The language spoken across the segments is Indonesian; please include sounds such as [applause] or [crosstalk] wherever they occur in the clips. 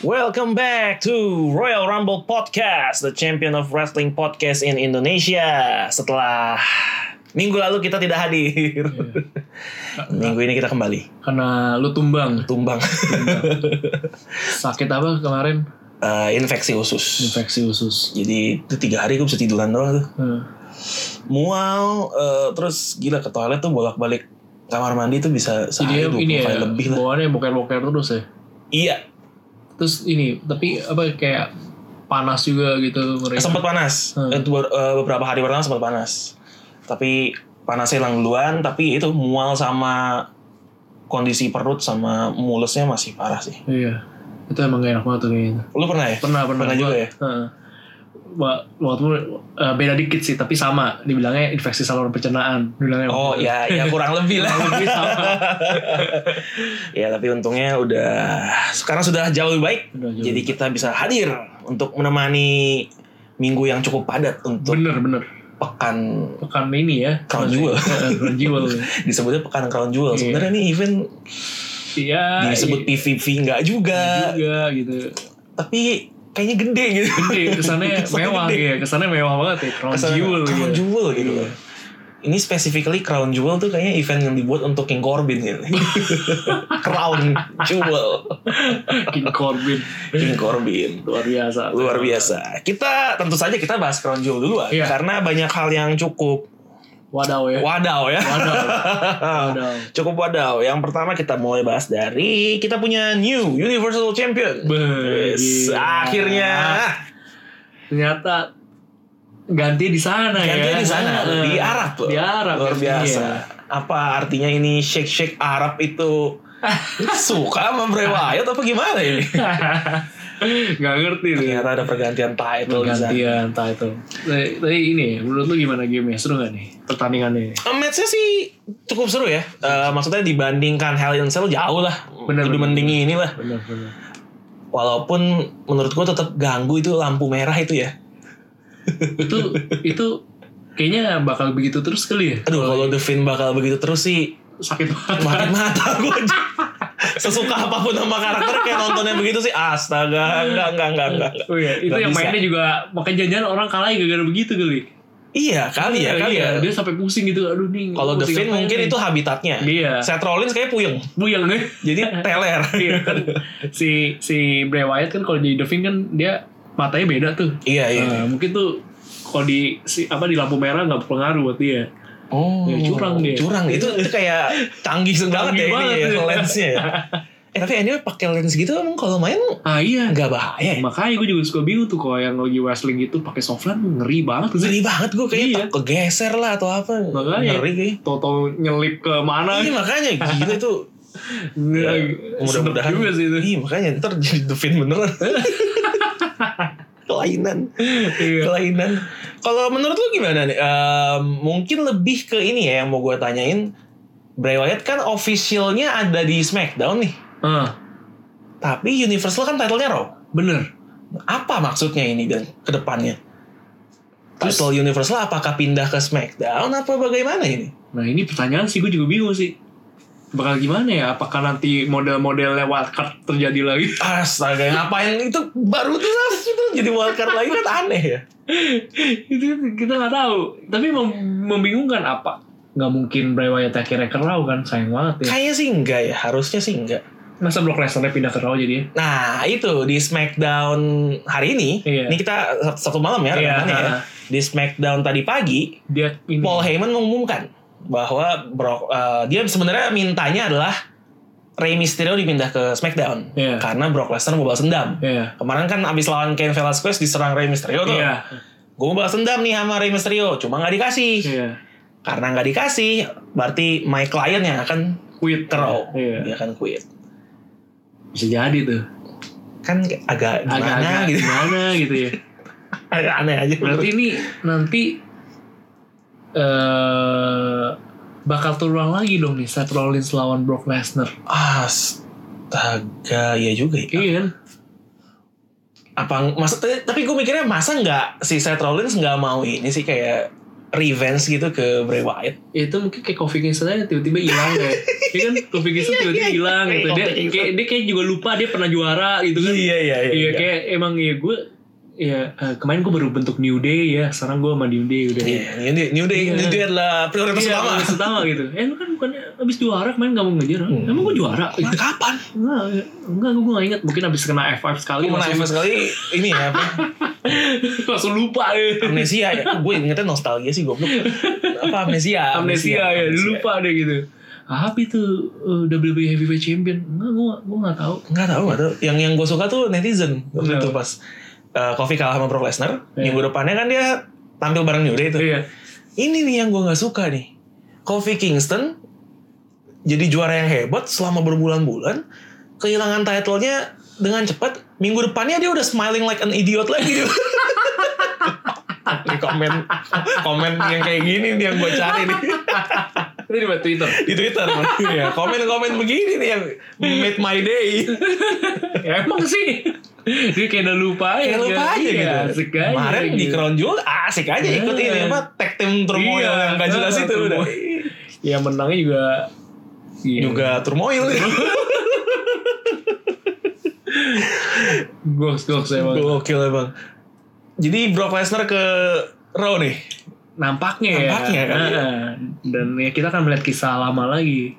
Welcome back to Royal Rumble Podcast, the champion of wrestling podcast in Indonesia. Setelah minggu lalu kita tidak Iya. hadir, [laughs] minggu ini kita kembali Karena lu [laughs] tumbang tumbang Sakit apa kemarin? Eh, infeksi usus. Infeksi usus Jadi itu tiga hari gue bisa tiduran doang tuh. Hmm. Mual, eh, terus gila ke toilet tuh bolak-balik kamar mandi tuh bisa sehari Jadi dua ini ya lebih lah. Bawaannya boker-boker terus ya Iya, Terus ini Tapi apa kayak Panas juga gitu mereka. sempat panas. Hmm. Itu ber- eh, beberapa hari pertama sempat panas. Tapi panasnya hilang duluan, tapi itu mual sama kondisi perut sama mulesnya masih parah sih. Iya Itu emang gak enak banget tuh kayaknya Lu pernah ya? Pernah pernah, Pernah juga ya? Heeh. Wa- Walaupun eh, beda dikit sih Tapi sama Dibilangnya infeksi saluran pencernaan Dibilangnya Oh ya, ya [laughs] kurang lebih lah. Kurang lebih sama ya tapi untungnya udah sekarang sudah jauh lebih baik. Udah jauh. Jadi kita bisa hadir untuk menemani minggu yang cukup padat untuk Bener bener pekan Pekan ini ya Crown Jewel. Heeh, Crown Jewel disebutnya pekan crown jewel. Iya. Sebenarnya ini event Iya disebut PVP Ah, nggak juga, iya juga gitu tapi kayaknya gede gitu. gede kesannya [laughs] Kesannya mewah gede. ya kesannya mewah banget ya crown Kesannya jewel crown gitu jewel gitu. Iya. Ini specifically crown jewel tuh kayaknya event yang dibuat untuk King Corbin [laughs] gitu. crown jewel King Corbin King Corbin. luar biasa luar biasa. Kita tentu saja kita bahas Crown Jewel duluan Iya. karena banyak hal yang cukup wadaw ya wadaw ya. wadaw wadaw [laughs] cukup wadaw. Yang pertama kita mulai bahas dari kita punya new Universal Champion. Be- Yes, gila. akhirnya ternyata ganti di sana ya ganti di sana Eh, Iya. iya. di Arab loh. di Arab luar gantinya. biasa. Apa artinya ini shake shake Arab [laughs] itu suka sama Bray Wyatt apa gimana ini? [laughs] nggak ngerti tuh Ternyata ada pergantian title di sana. gantian title Tapi- tapi ini menurut lu gimana game seru gak nih pertandingannya Eh, Matchnya sih cukup seru ya. Eh, maksudnya dibandingkan Hell in a Cell jauh lah. Bener, Lebih bener, mending ini lah. bener bener Walaupun menurut gua tetap ganggu itu lampu merah itu ya. itu itu kayaknya bakal begitu terus kali ya Aduh kalau The Fiend bakal begitu terus [laughs] sih sakit banget makin mata gua. [laughs] Sesuka apapun sama karakter kayak nontonnya begitu sih astaga enggak enggak enggak enggak. enggak. Oh iya, itu Nggak yang bisa. mainnya juga makanya jangan orang kalah ya gara-gara begitu kali. Iya kali ya kali ya. Dia sampai pusing gitu, aduh nih. Kalau The pusing Fiend apa mungkin ini? itu habitatnya. Iya. Seth Rollins kayak puyeng. buyang [laughs] ya. Jadi [laughs] teler. Iya kan. si si Bray Wyatt kan kalau jadi The Fiend kan dia matanya beda tuh. Iya iya. Nah, mungkin tuh kalau di si, apa di lampu merah nggak berpengaruh buat dia. Oh, Ya, curang dia. Curang itu, itu kayak canggih banget Canggih ya ini banget ya, dia. lensnya. [laughs] ya. eh tapi anyway pakai lens gitu emang kalau main Ah iya. nggak bahaya. ya? Makanya gue juga suka bingung tuh kalau yang lagi wrestling itu pakai soft lens ngeri banget sih. Ngeri banget gue kayaknya Iya. tak kegeser lah atau apa. Makanya. Ngeri kayaknya. Toto nyelip ke mana? Iya makanya gila itu. [laughs] Ya, Sedep mudah-mudahan. Iya, juga sih itu. Iya makanya ntar jadi The Fiend [laughs] beneran. kelainan, Iya. kelainan. Kalau menurut lu gimana nih? Ehm, mungkin lebih ke ini ya yang mau gue tanyain. Bray Wyatt kan officialnya ada di SmackDown nih. Ah, Tapi Universal kan titlenya Raw. bener. Apa maksudnya ini dan kedepannya? Terus- Title Universal apakah pindah ke SmackDown apa bagaimana ini? Nah ini pertanyaan sih gue juga bingung sih Bakal gimana ya Apakah nanti model-modelnya wildcard terjadi lagi [laughs] Astaga, ngapain itu baru tuh itu jadi wildcard lagi kan aneh ya. Itu kan kita nggak tahu Tapi mem- membingungkan apa Nggak mungkin Bray Wyatt akhirnya ke Raw kan Sayang banget ya Kayaknya sih enggak ya, harusnya sih enggak. Masa Brock Lesnar pindah ke Raw jadi ya Nah itu di SmackDown hari ini, Iya. ini kita satu- satu malam ya, Iya, rekamannya ya. nah. Di SmackDown tadi pagi, Dia ini Paul Heyman mengumumkan bahwa Brock, eh, dia sebenarnya mintanya adalah Rey Mysterio dipindah ke SmackDown Iya. karena Brock Lesnar mau balas dendam. Iya Kemarin kan abis lawan Cain Velasquez diserang Rey Mysterio tuh. Iya Gue mau balas dendam nih sama Rey Mysterio, cuma nggak dikasih. Iya Karena nggak dikasih, berarti my client yang akan Quit ke Raw. Iya Dia akan quit. Bisa jadi tuh Kan agak gimana Agak-agak gitu. [laughs] gimana gitu ya Agak aneh aja. Berarti ini nanti eh bakal turun lagi dong nih Seth Rollins lawan Brock Lesnar. Astaga, iya juga ya. Iya kan? Apa maksudnya tapi gue mikirnya masa nggak si Seth Rollins nggak mau ini sih kayak revenge gitu ke Bray Wyatt. Ya, itu mungkin kayak Kofi Kingston aja tiba-tiba hilang ya. Dia kan Kofi Kingston tiba-tiba hilang gitu. Dia kayak dia kayak juga lupa dia pernah juara gitu kan. Iya iya iya. Iya kayak emang ya gue ya eh, kemarin gue baru bentuk New Day ya, sekarang gue sama New Day udah. Iya, ini New Day Iya. New Day adalah prioritas Iya, utama. bagus utama gitu. Eh lu kan bukannya abis juara kemarin gak mau ngejar. ah? Emang gue juara? Nah, kapan? Enggak, enggak gue gak inget. Mungkin abis kena F5 sekali Gue langsung, naif [laughs] sekali ini ya apa, langsung lupa ya. amnesia ya. Gue ingetnya nostalgia sih goblok. Apa amnesia? amnesia ya Ah, amnesia. lupa deh gitu apa itu uh, WWE Heavyweight Champion enggak gua gua nggak tahu Nggak tahu, nggak tahu. Yang yang gue suka tuh netizen waktu Kenapa? itu pas eh, Kofi kalah sama Brock Lesnar. Iya. Minggu depannya kan dia tampil bareng New Day itu. iya Ini nih yang gue nggak suka nih. Kofi Kingston jadi juara yang hebat selama berbulan-bulan, kehilangan title-nya dengan cepat. Minggu depannya dia udah smiling like an idiot lagi. Dia. Ini komen komen yang kayak gini nih yang gue cari nih itu di buat Twitter di Twitter ya komen komen begini nih yang made my day ya, emang sih [laughs] dia kayak udah lupa kayak aja lupa aja gitu. Iya, asik aja Kemarin di gitu. Crown Jewel asik aja ikut Iya. ini apa tag team turmoil Iya, yang gak jelas iya, itu udah. turmoil. ya menangnya juga iya. Juga turmoil. goks goks emang Gokil emang. Jadi Brock Lesnar ke Raw nih. nampaknya, Nampaknya ya kan, iya. Nah, dan ya kita akan melihat kisah lama lagi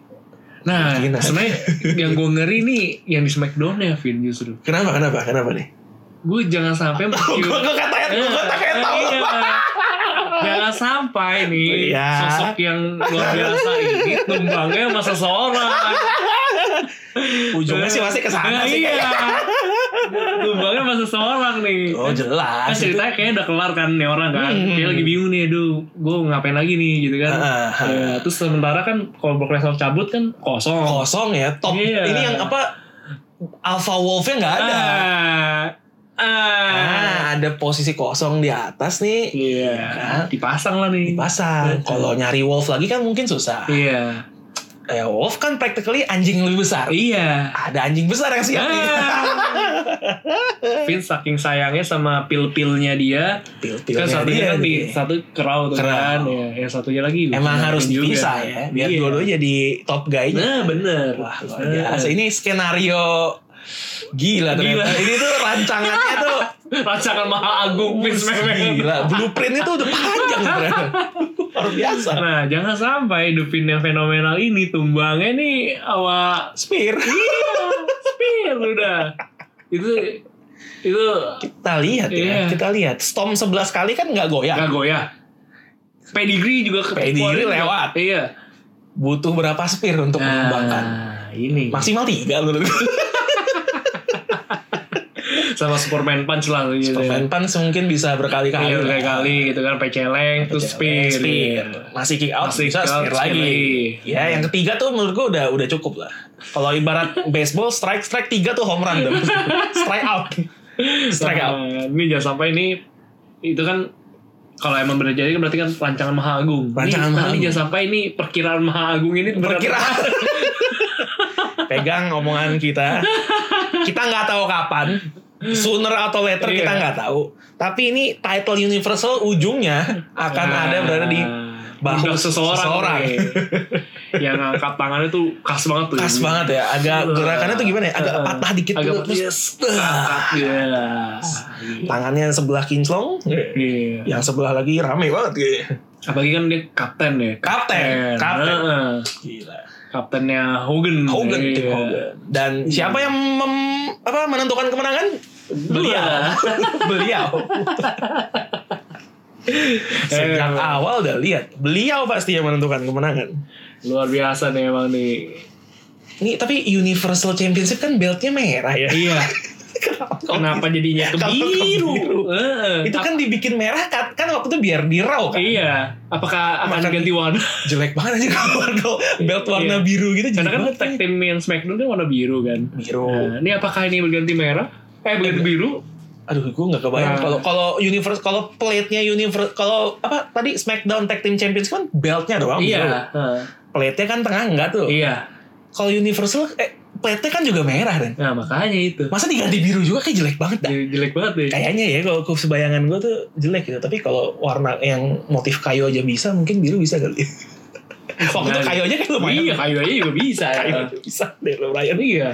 nah Mungkin aja. sebenarnya yang gue ngeri nih yang di Smackdown ya Vin justru Kenapa kenapa kenapa nih? gue jangan sampai mencium Gue gue kata gue tak kayak tahu. Iya. Jangan sampai nih Iya. sosok yang luar biasa ini tumbangnya sama seseorang. Ujungnya sih masih kesana Nah, sih. Iya. kayaknya. tumbangnya sama seseorang nih. Oh Kan jelas. itu. ceritanya kayaknya udah kelar kan nih orang kan. Hmm. Dia lagi bingung nih, aduh, gue ngapain lagi nih gitu kan. Ah, ah. Ya, terus sementara kan kalau Brock Lesnar cabut kan kosong. Kosong ya top. Iya. Ini yang apa? Alpha Wolfnya nggak ada. Ah. Ah. Ah, ada posisi kosong di atas nih. Iya. Kan? Dipasang lah nih. Dipasang. Betul. Kalau nyari Wolf lagi kan mungkin susah. Iya. Eh, wolf kan practically anjing lebih besar. Iya. Ada anjing besar yang siap nih. Vince saking sayangnya sama pil-pilnya dia, Pil-pilnya kan satunya dia kan di nih. satu kerau tuh Kerau. kan, ya, yang satunya lagi Emang bikin harus juga. dipisah ya, biar Iya. dua-dua jadi top guy-nya. Nah bener. Wah, luar biasa. Ini skenario gila ternyata. Gila. Ini tuh rancangannya [laughs] tuh Rasakan Maha Agung Vince McMahon. gila. Blueprint itu udah panjang ternyata. [laughs] Luar biasa. Nah jangan sampai The Pin yang fenomenal ini tumbangnya nih awak Spear. spear udah. Itu itu Kita lihat ya, Iya. kita lihat. Storm 11 kali kan nggak goyah. gak goyah. Pedigree juga ke Pedigree lewat. Iya. Butuh berapa spear untuk mengembangkan? Nah, ini. Maksimal 3 menurut Iya. gue. sama Superman Punch lah gitu. Superman Punch mungkin bisa berkali-kali. Iya lah. berkali-kali gitu kan peceleng terus spear. Spear. Iya. Masih kick out, Masih bisa kick out, spear spear lagi. lagi. Ya, yang ketiga tuh menurut gua udah udah cukup lah. Kalau [laughs] ibarat baseball strike strike tiga tuh home run dong. strike out. Strike out. Nah, ini jangan sampai ini itu kan kalau emang benar jadi kan berarti kan rancangan Maha Agung. Rancangan ini, Maha tapi Agung. jangan sampai ini perkiraan Maha Agung ini benar. [laughs] Perkiraan. Pegang omongan kita. Kita nggak tahu kapan. Sooner atau later Iya. kita nggak tahu. Tapi ini title universal ujungnya akan Nah, ada berada di bahu pundak seseorang. seseorang. [laughs] nih. yang angkat tangannya tuh khas banget tuh. khas banget ya. Agak gerakannya tuh gimana ya? Agak Uh, patah dikit. agak dulu, patah. terus, Angkat, Iya. tangannya sebelah kinclong. Iya. yang sebelah lagi rame banget kayaknya. Apalagi kan dia kapten ya. Kapten, kapten. Heeh. Gila. Kaptennya Hogan. Hogan, Iya. tim Hogan. Dan siapa yang mem- apa menentukan kemenangan? Beliau. [laughs] beliau. [laughs] Sejak Eh. awal udah lihat, beliau pasti yang menentukan kemenangan. Luar biasa nih emang nih. Ini tapi Universal Championship kan beltnya merah ya. [laughs] Iya. Kenapa jadinya Kalau kebiru? kebiru. Heeh. Itu Tapi- kan dibikin merah kan, kan waktu itu biar di Raw kan. Iya. Apakah akan Makan- ganti [laughs] warna? Jelek banget aja kalau warna- belt warna Iya. biru gitu. Karena jelek kan banget. tag team yang Smackdown kan warna biru kan. biru. Nah, ini apakah ini berganti merah? Eh Iya. berganti biru? aduh gue nggak kebayang Nah. kalau kalau universe kalau plate nya universe kalau apa tadi Smackdown Tag Team Champions kan beltnya doang iya. plate nya kan tengah enggak tuh Iya. kalau universal eh PT kan juga merah dan Nah makanya itu. masa diganti biru juga kayak jelek banget dah. Jelek, jelek banget deh. Kayaknya ya kalau ke sebayangan gue tuh jelek gitu. Tapi kalau warna yang motif kayu aja bisa, mungkin biru bisa kali. [laughs] Waktu itu Nah, kayu aja kan lumayan. Iya kayu aja juga bisa. [laughs] Kayu ya. aja bisa deh lumayan. Iya.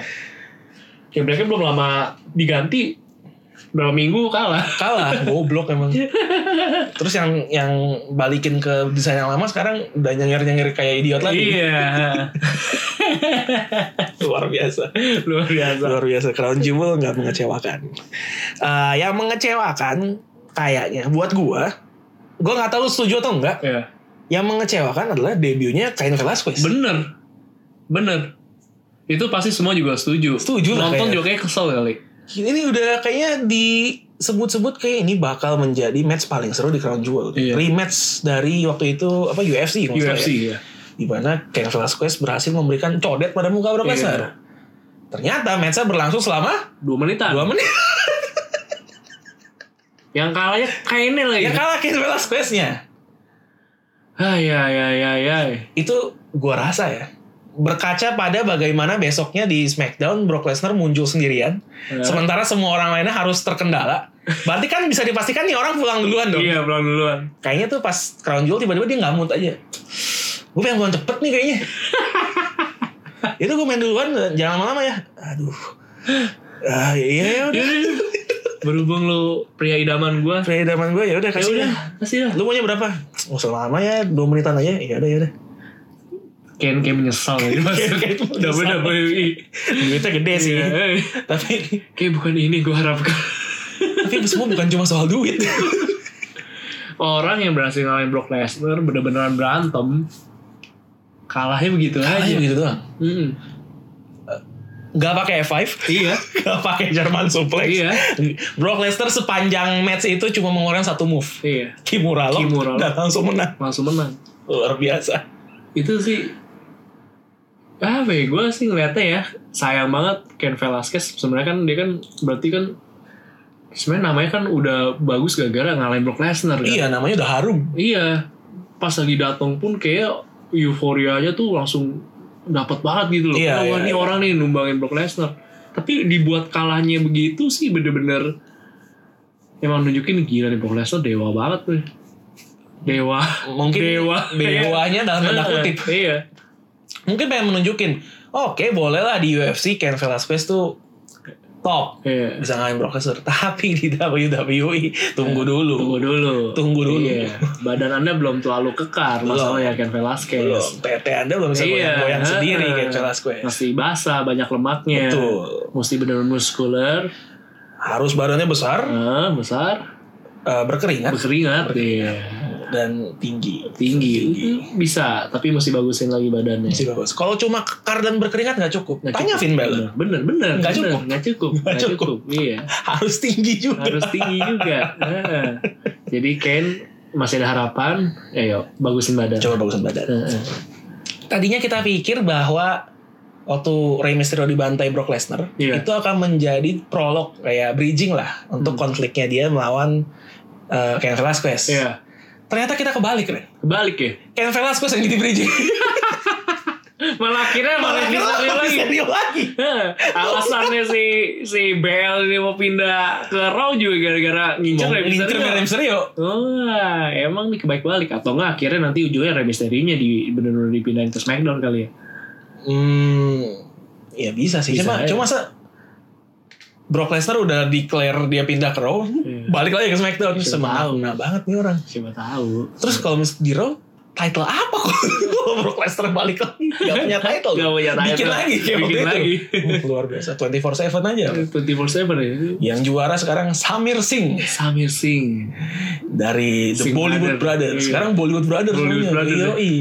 Ya mereka belum lama diganti. Berapa minggu kalah. Kalah, goblok emang. [laughs] Terus yang yang balikin ke desain yang lama sekarang udah nyengir-nyengir kayak idiot lagi. [laughs] Iya. Luar biasa. Luar biasa. Luar biasa. Crown Jewel nggak mengecewakan. Eh, yang mengecewakan kayaknya buat gua, gua nggak tahu lu setuju atau enggak. Iya. Yang mengecewakan adalah debutnya Cain Velasquez. Bener. Bener. Itu pasti semua juga setuju. Setuju lah Nonton kayaknya. juga kayak kesel kali. ini udah kayaknya disebut-sebut kayak ini bakal menjadi match paling seru di Crown Jewel. Iya. Rematch dari waktu itu apa UFC kalau nggak salah ya. UFC ya. Di mana Cain Velasquez berhasil memberikan codet pada muka Brock Iya. Lesnar. Ternyata matchnya berlangsung selama Dua menitan. dua menit. Yang kalahnya kainnya lagi. Ya kalah Cain Velasquez-nya. Hai, hai, hai, hai, hai. itu gua rasa ya berkaca pada bagaimana besoknya di SmackDown Brock Lesnar muncul sendirian, Ya. sementara semua orang lainnya harus [laughs] terkendala. Berarti kan bisa dipastikan nih orang pulang duluan dong. Iya, pulang duluan. Kayaknya tuh pas Crown Jewel tiba-tiba dia nggak mood aja. Gue pengen pulang cepet nih [laughs] kayaknya. itu gue main duluan, jangan lama-lama ya. Aduh. Ah, iya ya udah. Berhubung lu pria idaman gua, Predaman gue ya udah ya kasih. udah, dah. kasih lah. Lu maunya berapa? Nggak usah lama ya, dua menitan aja. Ya udah [laughs] ya udah. Ken kayak menyesal [laughs] gitu maksudnya. [laughs] kayak menyesal. WWE. Duitnya gede sih. Iya, eh. Tapi Kayak bukan ini gua harapkan. tapi semua bukan cuma soal duit Orang yang berhasil ngalahin Brock Lesnar bener-beneran berantem. Kalahnya begitu aja. gitu doang Mm-mm. Gak pakai F5 [laughs] Iya, Gak pakai German suplex Iya. Brock Lesnar sepanjang match itu cuma mengeluarkan satu move iya. Kimura Lock Kimura Lock. Dan langsung menang Langsung menang. Luar biasa Itu sih apa ya gue sih ngeliatnya ya sayang banget Ken Velasquez sebenarnya kan dia kan berarti kan sebenarnya namanya kan udah bagus gara-gara ngalahin Brock Lesnar kan? Iya namanya udah harum Iya, pas lagi datang pun kayak euforianya tuh langsung dapat banget gitu loh. Iya, Wah, iya, ini iya. orang nih numbangin Brock Lesnar. Tapi dibuat kalahnya begitu sih bener-bener emang nunjukin gila nih Brock Lesnar dewa banget tuh. Dewa. Mungkin Dewa. Dewanya dalam [laughs] tanda kutip Iya. Mungkin pengen menunjukin Oke boleh lah di UFC Ken Velasquez tuh Top Iya. Bisa ngalahin Brock Lesnar [laughs] Tapi di WWE Tunggu dulu Eh, Tunggu dulu. Tunggu dulu. Iya. Badan Anda belum terlalu kekar Belum. masalahnya Ken Velasquez. Belum PT Anda belum Iya. bisa goyang-goyang Ah, sendiri Ken Velasquez Masih basah, banyak lemaknya. Betul Mesti benar-benar muskuler, harus badannya besar, eh, besar, eh, berkeringat berkeringat iya. dan tinggi. tinggi Itu bisa tapi mesti bagusin lagi badannya Masih bagus. Kalau cuma kekar dan berkeringat nggak cukup. Nggak Tanya cukup. Iya. Finn Balor. bener bener Nggak bener. cukup. nggak cukup Nggak nggak cukup. iya [laughs] Harus tinggi juga. harus tinggi juga Nah. jadi Ken masih ada harapan ayo bagusin badan Nah. Coba bagusan badan. Heeh. Tadinya kita pikir bahwa waktu Rey Mysterio dibantai Brock Lesnar Iya. itu akan menjadi prolog kayak bridging lah untuk konfliknya dia melawan eh, Ken Velasquez. Hmm. iya Ternyata kita kebalik, Ren. balik ya Ken Velasquez yang jadi bridging. malah akhirnya Iya, [laughs] malah Malah bisa kenapa lagi Mysterio lagi. Heeh. [laughs] alasannya si si BL ini mau pindah ke Raw juga gara-gara ngincer Rey Ngincer Iya, Mysterio. Rey Mysterio. Wah, emang nih kebalik balik atau enggak akhirnya nanti ujungnya Rey Mysterio-nya di benar-benar dipindahin ke SmackDown kali ya. Hmm, ya bisa sih. Bisa cuma aja. cuma se- Brock Lesnar udah declare dia pindah ke Raw, Iya. balik lagi ke SmackDown. Siapa tahu. Semangat banget nih orang. Siapa tahu. Terus kalau mis di Raw, title apa kok? [laughs] Kalau Brock Lesnar balik lagi, gak punya title. Gak punya title. Bikin lagi kayak Bikin waktu lagi. itu. Iya. Hmm, Luar biasa, 24-7 aja. 24/7 ya. Yang juara sekarang Samir Singh Samir Singh. [laughs] dari The Singh Bollywood Brothers. Brothers. Iya. Sekarang Bollywood Brothers. Bollywood namanya. Brothers, ya. Yoi.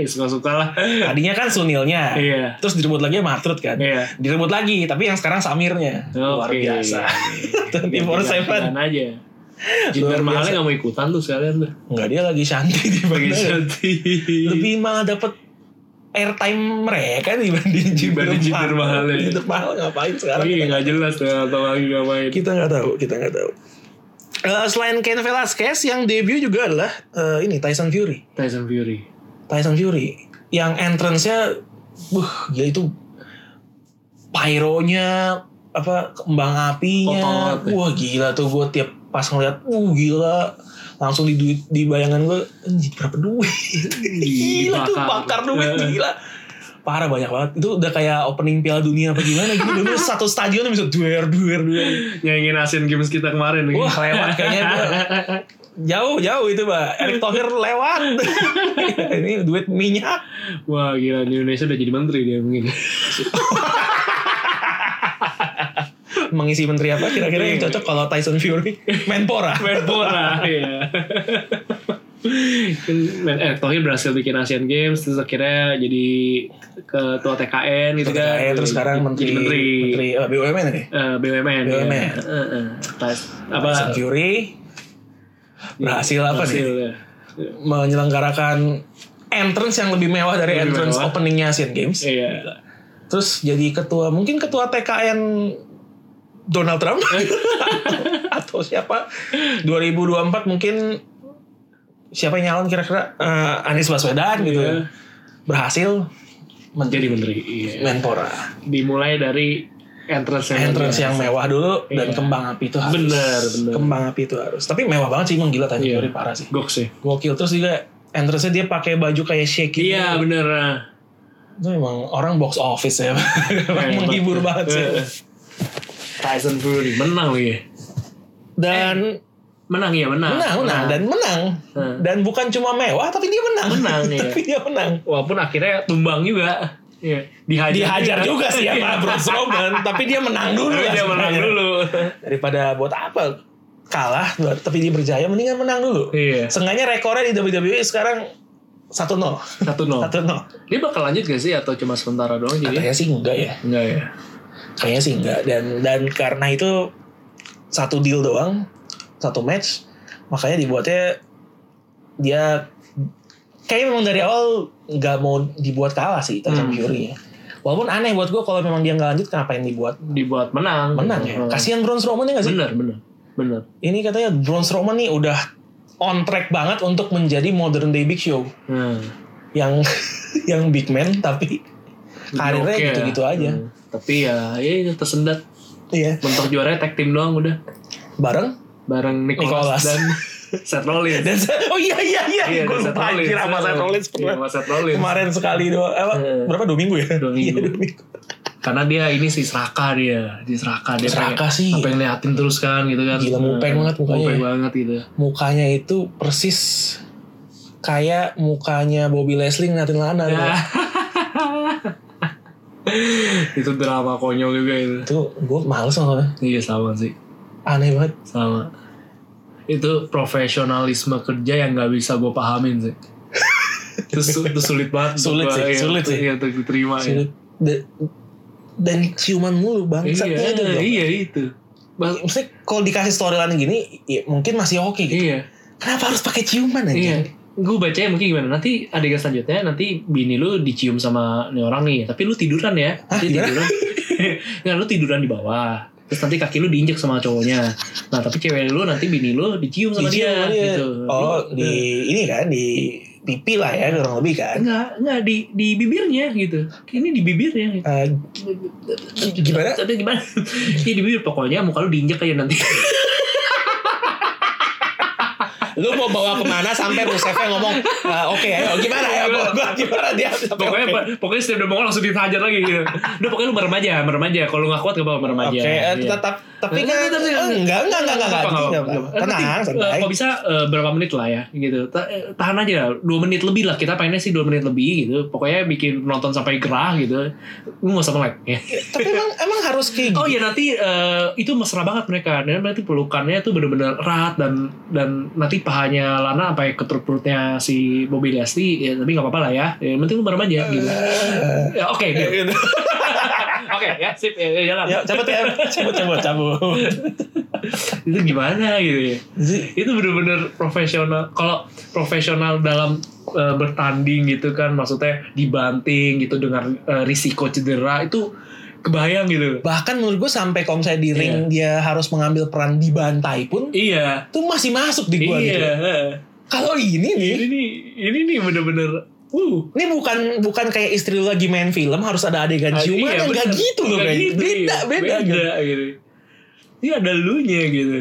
Iya, Suka-suka lah. Tadinya kan Sunilnya. Iya. Terus direbut lagi sama Artrud kan. Iya. direbut lagi tapi yang sekarang Samirnya luar Oke. [laughs] biasa 24/7 Ganti-gantian aja. Jinder Luar Mahal biasa. gak mau ikutan tuh sekalian tuh. nggak dia lagi shanty di Bagi Bandung. Santi. lebih malah dapet airtime mereka dibanding Jinder Dibanding Jinder Mahal, ya. Jinder Mahal ngapain sekarang Tapi gak Iya, jelas tuh atau lagi ngapain. kita nggak tahu kita nggak tahu Eh, selain Ken Velasquez yang debut juga adalah eh, ini Tyson Fury Tyson Fury. Tyson Fury yang entrance-nya buh gila itu pyronya apa kembang apinya Kotor, ya. wah gila tuh gue tiap pas ngeliat uh gila langsung di duit di bayangan gue anjir berapa duit [laughs] gila tuh bakar duit gila parah banyak banget itu udah kayak opening piala dunia apa gimana gitu dulu satu stadion bisa duer duer duer Nyanyiin Asian Games kita kemarin lagi. Wah, lewat kayaknya itu. jauh jauh itu mbak Erick Thohir [laughs] lewat ini duit minyak Wah gila di Indonesia udah jadi menteri dia mungkin. [laughs] mengisi menteri apa kira-kira Iya. yang cocok kalau Tyson [laughs] Fury Menpora Menpora ya. Men, eh Tohir berhasil bikin Asian Games terus akhirnya jadi ketua TKN gitu kan. Eh, terus sekarang menteri Jadi menteri. menteri eh, BUMN nih Eh, BUMN. ya. BUMN. Eh, eh. Pas- apa Tyson Fury berhasil apa Iya. berhasil, nih ya. menyelenggarakan entrance yang lebih mewah dari Lebih entrance mewah. openingnya Asian Games Iya. terus jadi ketua mungkin ketua TKN Donald [laughs] Trump atau siapa 2024 mungkin siapa yang nyalon kira-kira Eh, Anies Baswedan gitu Iya. berhasil Jadi menjadi menteri. Iya. Menpora Dimulai dari entrance yang entrance yang mewah dulu dan Iya. kembang api itu harus Bener, bener. kembang api itu harus tapi mewah banget sih emang gila tadi Iya. Fury parah sih Gok sih. gokil terus juga entrance-nya dia pakai baju kayak shake gitu. Iya bener. nah. itu emang orang box office [laughs] ya Hebat. menghibur banget sih Eh, eh. Tyson Fury menang lagi. dan Menang ya menang. menang, menang, dan menang. Hmm. Dan bukan cuma mewah, tapi dia menang. [laughs] Menang, iya. tapi dia menang. walaupun akhirnya tumbang juga. Iya. Dihajar, Iya. Dihajar juga sih ya Pak [laughs] Bro Strowman, tapi dia menang dulu ya. Tapi dia menang sebenarnya. dulu. Daripada buat apa kalah, tapi dia berjaya, mendingan menang dulu. Iya. Sengaja rekornya di WWE sekarang 1-0. 1-0. Satu nol. Dia bakal lanjut gak sih atau cuma sementara doang jadi? Kayaknya sih enggak ya. Enggak ya. Kayaknya sih enggak. Dan dan karena itu satu deal doang, satu match, makanya dibuatnya dia kayaknya memang dari awal nggak mau dibuat kalah sih Tyson Hmm. Fury ya. Walaupun aneh buat gue kalau memang dia nggak lanjut ngapain dibuat Dibuat menang. Hmm. menang ya. Kasihan Braun Strowman ya nggak sih? Bener bener bener. Ini katanya Braun Strowman nih udah on track banget untuk menjadi modern day big show Hmm. yang [laughs] yang big man tapi karirnya Oke ya. gitu-gitu aja. Hmm. Tapi ya, ya itu tersendat. Iya, Mentok juaranya tag team doang udah. bareng Bareng Nicholas, Nicholas. [laughs] dan Seth Rollins. dan oh iya iya iya, Iya, gue dan Seth lupa anjir Rollins. sama Seth Rollins Iya, pernah. sama Seth Rollins. Kemarin sekali doang, eh, apa, Iya. berapa dua minggu ya? Dua minggu. Iya, dua minggu. Karena dia ini si Seraka dia, di Seraka dia Seraka pengen- sih. sampai ngeliatin terus kan gitu kan. Gila, mupeng banget mukanya. Mupeng banget gitu. mukanya itu persis kayak mukanya Bobby Leslie ngeliatin Lana Ya. [laughs] gua. itu drama konyol juga itu. itu gue males nontonnya Iya sama sih, aneh banget sama. Itu profesionalisme kerja yang nggak bisa gue pahamin [laughs] sih. itu, su- itu sulit banget. Sulit buat gua, sih, iya, sulit sih. Iya, untuk diterima. ya. Sulit. Da- dan ciuman mulu Iya, bangsatnya itu iya, dong. itu. Bas- maksudnya kalau dikasih storyline gini ya mungkin masih oke gitu iya, kenapa harus pakai ciuman iya. aja Gue bacanya mungkin gimana Nanti adegan selanjutnya Nanti bini lu dicium sama nih orang nih Tapi lu tiduran ya Nanti gimana? tiduran [laughs] Nggak lu tiduran di bawah Terus nanti kaki lu diinjek sama cowoknya Nah tapi cewek lu nanti bini lu dicium sama Dicium dia, sama dia. gitu oh Lu- di ini kan di pipi lah ya kurang lebih kan Enggak, enggak di, di bibirnya gitu Ini di bibirnya gitu. Eh, gimana? Tapi [laughs] gimana? Iya di bibir pokoknya muka lu diinjek aja nanti lu mau bawa kemana sampai Rusevnya ngomong "Ah, oke ayo gimana ya gimana dia sampai Pokoknya oke. pokoknya setiap udah mau langsung ditajar lagi gitu Udah pokoknya lu merem aja, merem aja Kalau lu nggak kuat gak apa-apa merem aja Oke, eh, Iya. tetap tapi Enggak, kan enggak, enggak, enggak enggak. enggak enggak enggak Apa, enggak, apa, enggak. apa. tenang Nanti, eh, santai. Kalau bisa eh, berapa menit lah ya gitu. Ta- eh, Tahan aja dua menit lebih lah. Kita pengennya sih dua menit lebih gitu. Pokoknya bikin nonton sampai gerah gitu. Lu nggak usah melek. [laughs] Ya. Tapi emang emang harus kayak gitu. Oh ya nanti eh, itu mesra banget mereka. Dan nanti pelukannya tuh bener-bener erat dan dan nanti pahanya Lana sampai ke perut perutnya si Bobby Leslie. Ya, tapi nggak apa-apa lah ya. ya. Yang penting lu bareng aja gitu. Eh. Ya, [laughs] Oke, deal. Gitu. oke ya sip ya, ya, jalan. Ya, cabut ya. Cabut cabut cabut. [laughs] Itu gimana gitu ya? itu bener-bener profesional kalau profesional dalam eh, bertanding gitu kan maksudnya dibanting gitu dengan eh, risiko cedera itu kebayang gitu Bahkan menurut gue sampai kalau misalnya di ring dia harus mengambil peran di bantai pun iya itu masih masuk di gua iya gitu. Kalau ini nih ini nih ini nih bener-bener Uh, Ini bukan bukan kayak istri lu lagi main film harus ada adegan Ah, ciuman iya, kan nggak bener. gitu loh Nggak men. gitu, beda, iya. beda gitu. gitu. Ini ada lunya gitu.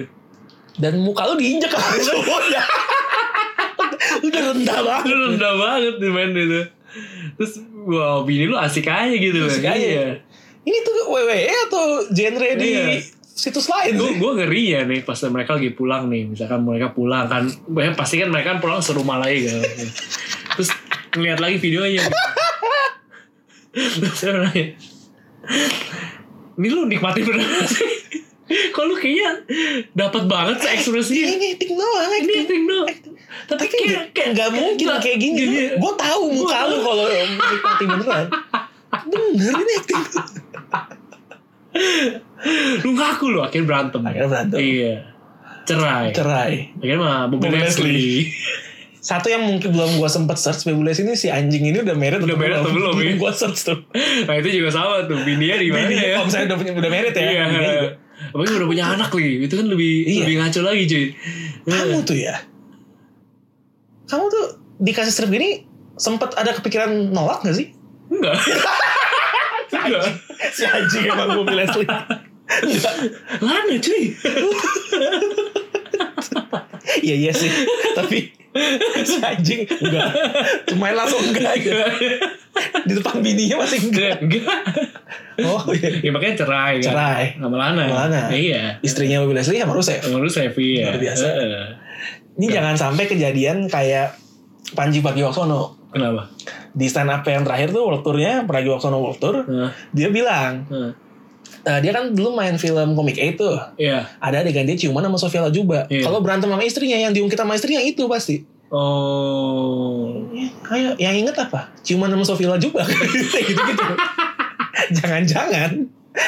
Dan muka lu diinjek sama [laughs] cowoknya. Udah rendah banget. Lu Iya. rendah banget nih main itu. Terus wow, bini lu asik aja gitu Asik aja. Ini tuh WWE atau genre di Iya. situs lain sih? Gue gue ngeri ya nih pas mereka lagi pulang nih, misalkan mereka pulang kan, ya pasti kan mereka pulang serumah lagi kan. Terus ngeliat lagi videonya. Gitu. Terus saya nanya, ini lu nikmatin beneran sih? Kok lu kayaknya dapat banget sih ekspresinya? Ini acting doang, Iya. ini acting. acting doang. Tapi Tapi kayak, nggak mungkin nggak- kayak gini. gini. Gue tahu muka Iya. Gua lu tahu. kalau nikmati beneran. Bener [laughs] ini acting. Lu ngaku lu akhirnya berantem. Akhirnya berantem. Iya. Cerai. Cerai. Akhirnya mah Bobby Bobby Leslie. Satu yang mungkin belum gue sempet search Bebules ini si anjing ini udah married Udah married atau belum, ya? Gue search tuh. [laughs] nah itu juga sama tuh. Bininya di mana Bini, ya? Kalau misalnya udah punya udah married ya. Iya. bininya juga. Apalagi udah punya anak lagi. Itu kan lebih Iya. lebih ngaco lagi cuy. Iya. Kamu tuh ya. Kamu tuh dikasih strip gini sempet ada kepikiran nolak gak sih? Enggak. Enggak. [laughs] Si anjing emang gue Leslie. Enggak. Lana cuy. [laughs] Iya iya sih. Tapi [laughs] si anjing enggak. Cuma langsung enggak gitu. Di depan bininya masih enggak. Enggak. Oh iya. Ya makanya cerai kan. Cerai. Sama Lana. Sama Lana. Iya. Istrinya Bobby Leslie sama Rusev. Sama lu Sevi ya. Luar biasa. Heeh. Ini jangan sampai kejadian kayak Panji Pragiwaksono Kenapa? di stand up yang terakhir tuh world tournya Pragiwaksono world tour Heeh. dia bilang Heeh. eh, dia kan dulu main film komik A tuh Iya. ada adegan dia ciuman sama Sofia Lajuba Iya. kalau berantem sama istrinya yang diungkit sama istrinya itu pasti Oh. Ya, ayo yang inget apa ciuman sama Sofia [laughs] Lajuba gitu gitu jangan-jangan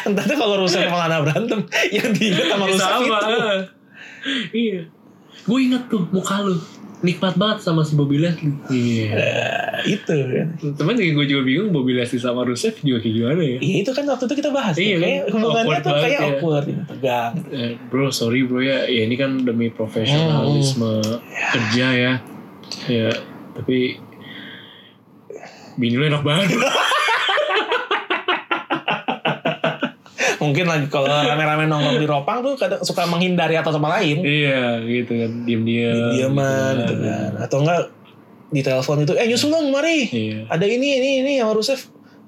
entah tuh kalau Rusev sama Lana berantem yang diinget sama Ya, Rusev sama. itu eh. Iya. Gue inget tuh muka lu. Nikmat banget sama si Bobby Leslie. Iya. Eh, itu kan Temen juga gue juga bingung Bobby Leslie sama Rusev juga kayak gimana ya. Iya itu kan waktu itu kita bahas Iya, ya. kan? kayak hubungannya Awkward tuh banget kayak ya. awkward ya. tegang Eh, bro, sorry bro ya. Ya ini kan Oh, demi profesionalisme kerja ya. Ya, tapi bini lu enak banget. [laughs] mungkin lagi kalau rame-rame nongkrong di ropang tuh kadang suka menghindari atau sama lain iya, gitu kan. Diam-diam. diaman gitu gitu kan atau enggak di telepon itu eh nyusul dong mari Iya. ada ini ini ini sama Rusef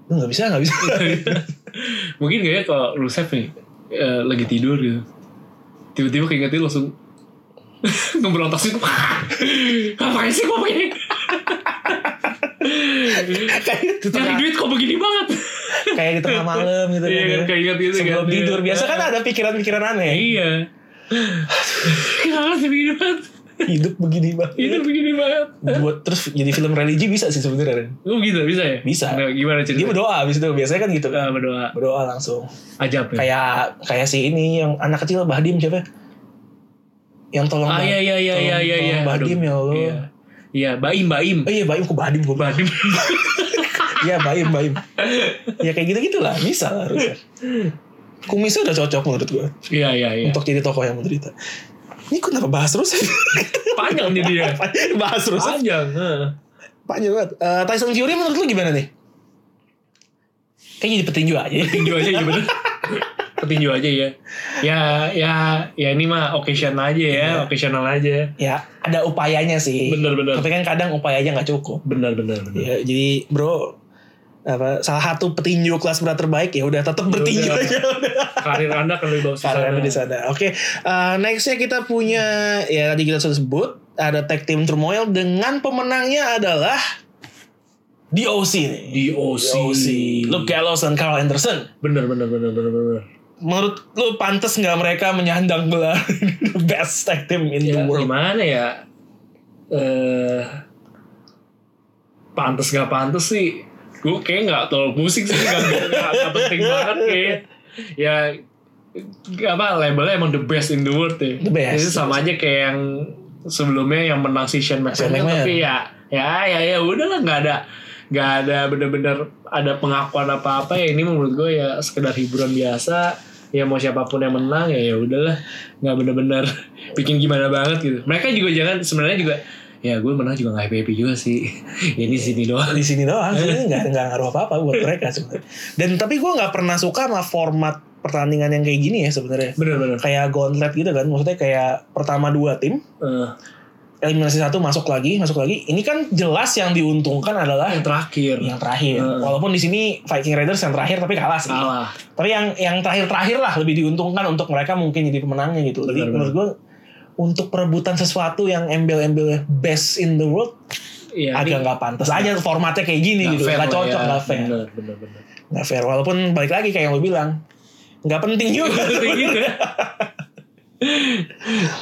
lu nggak bisa nggak bisa iya. Mungkin gak ya kalau Rusev nih eh, lagi tidur gitu. Tiba-tiba keingetin langsung [laughs] ngeberontas itu. [laughs] Ngapain sih kok [laughs] begini? [laughs] kayak di Nyari tengah- duit kok begini banget? kayak di tengah malam gitu Iya kan kan ya. keinget gitu sebelum kan. tidur Iya. biasa kan ada pikiran-pikiran aneh Iya. Kenapa sih begini banget? hidup begini Itu banget begini banget. buat terus jadi film religi bisa sih sebenarnya Ren. Oh gitu bisa ya? Bisa. Nah, gimana dia cerita? berdoa abis itu biasanya kan gitu Ah, berdoa. berdoa langsung Ajab ya. kayak kayak si ini yang anak kecil Bahdim siapa ya? yang tolong Ah Bah- iya iya iya tolong- iya iya. iya. tolong Bahdim Aduh. ya Allah Iya. Iya, Baim Baim. Eh, iya Baim kok Bahdim gue Badim. Iya Baim Baim ya kayak gitu gitulah bisa lah harusnya kumisnya udah cocok menurut gue [laughs] Iya iya iya. untuk jadi tokoh yang menderita ini kok kenapa bahas terus Panjang jadinya. [laughs] bahas terus Panjang. heeh. panjang banget Eh, Tyson Fury menurut lu gimana nih kayaknya jadi petinju [laughs] aja Petinju aja [laughs] ya bener. Petinju aja ya. Ya ya ya ini mah occasion aja ya, Iya. occasional aja. ya ada upayanya sih Bener bener. tapi kan kadang upayanya nggak cukup Bener bener bener. Ya, jadi bro apa salah satu petinju kelas berat terbaik ya udah tetap bertinju udah. aja Karir Anda akan lebih bagus di karena sana. di sana. Oke, eh, nextnya kita punya ya tadi kita sudah sebut ada tag team turmoil dengan pemenangnya adalah DOC nih. DOC. Luke Gallows dan Carl Anderson. Bener bener bener bener bener. Menurut lu pantas nggak mereka menyandang gelar [laughs] the best tag team in the Ya, world? gimana ya? Eh pantes gak pantes sih. Gue kayak gak terlalu musik sih, gak, gak, gak penting banget kayak. Ya gak apa labelnya emang the best in the world ya. The best. Itu sama aja kayak yang sebelumnya yang menang si Shane Shane McMahon, McMahon. tapi ya ya ya ya udahlah nggak ada nggak ada bener-bener ada pengakuan apa-apa ya ini menurut gue ya sekedar hiburan biasa ya mau siapapun yang menang [laughs] ya ya udahlah nggak bener-bener bikin gimana banget gitu mereka juga jangan sebenarnya juga ya gue menang juga nggak happy happy juga sih [laughs] ya di sini doang di sini doang sebenarnya nggak nggak ngaruh apa apa buat mereka sebenarnya dan tapi gue nggak pernah suka sama format pertandingan yang kayak gini ya sebenarnya bener bener kayak gauntlet gitu kan maksudnya kayak pertama dua tim Eh, eliminasi satu masuk lagi masuk lagi ini kan jelas yang diuntungkan adalah yang terakhir yang terakhir Hmm. walaupun di sini Viking Raiders yang terakhir tapi kalah sih salah tapi yang yang terakhir terakhir lah lebih diuntungkan untuk mereka mungkin jadi pemenangnya gitu jadi Benar, benar. menurut gue untuk perebutan sesuatu yang embel-embel best in the world ya, agak nggak pantas aja formatnya kayak gini gitu nggak cocok nggak fair bener bener bener nggak fair walaupun balik lagi kayak yang lu bilang nggak penting juga Kayak gitu ya.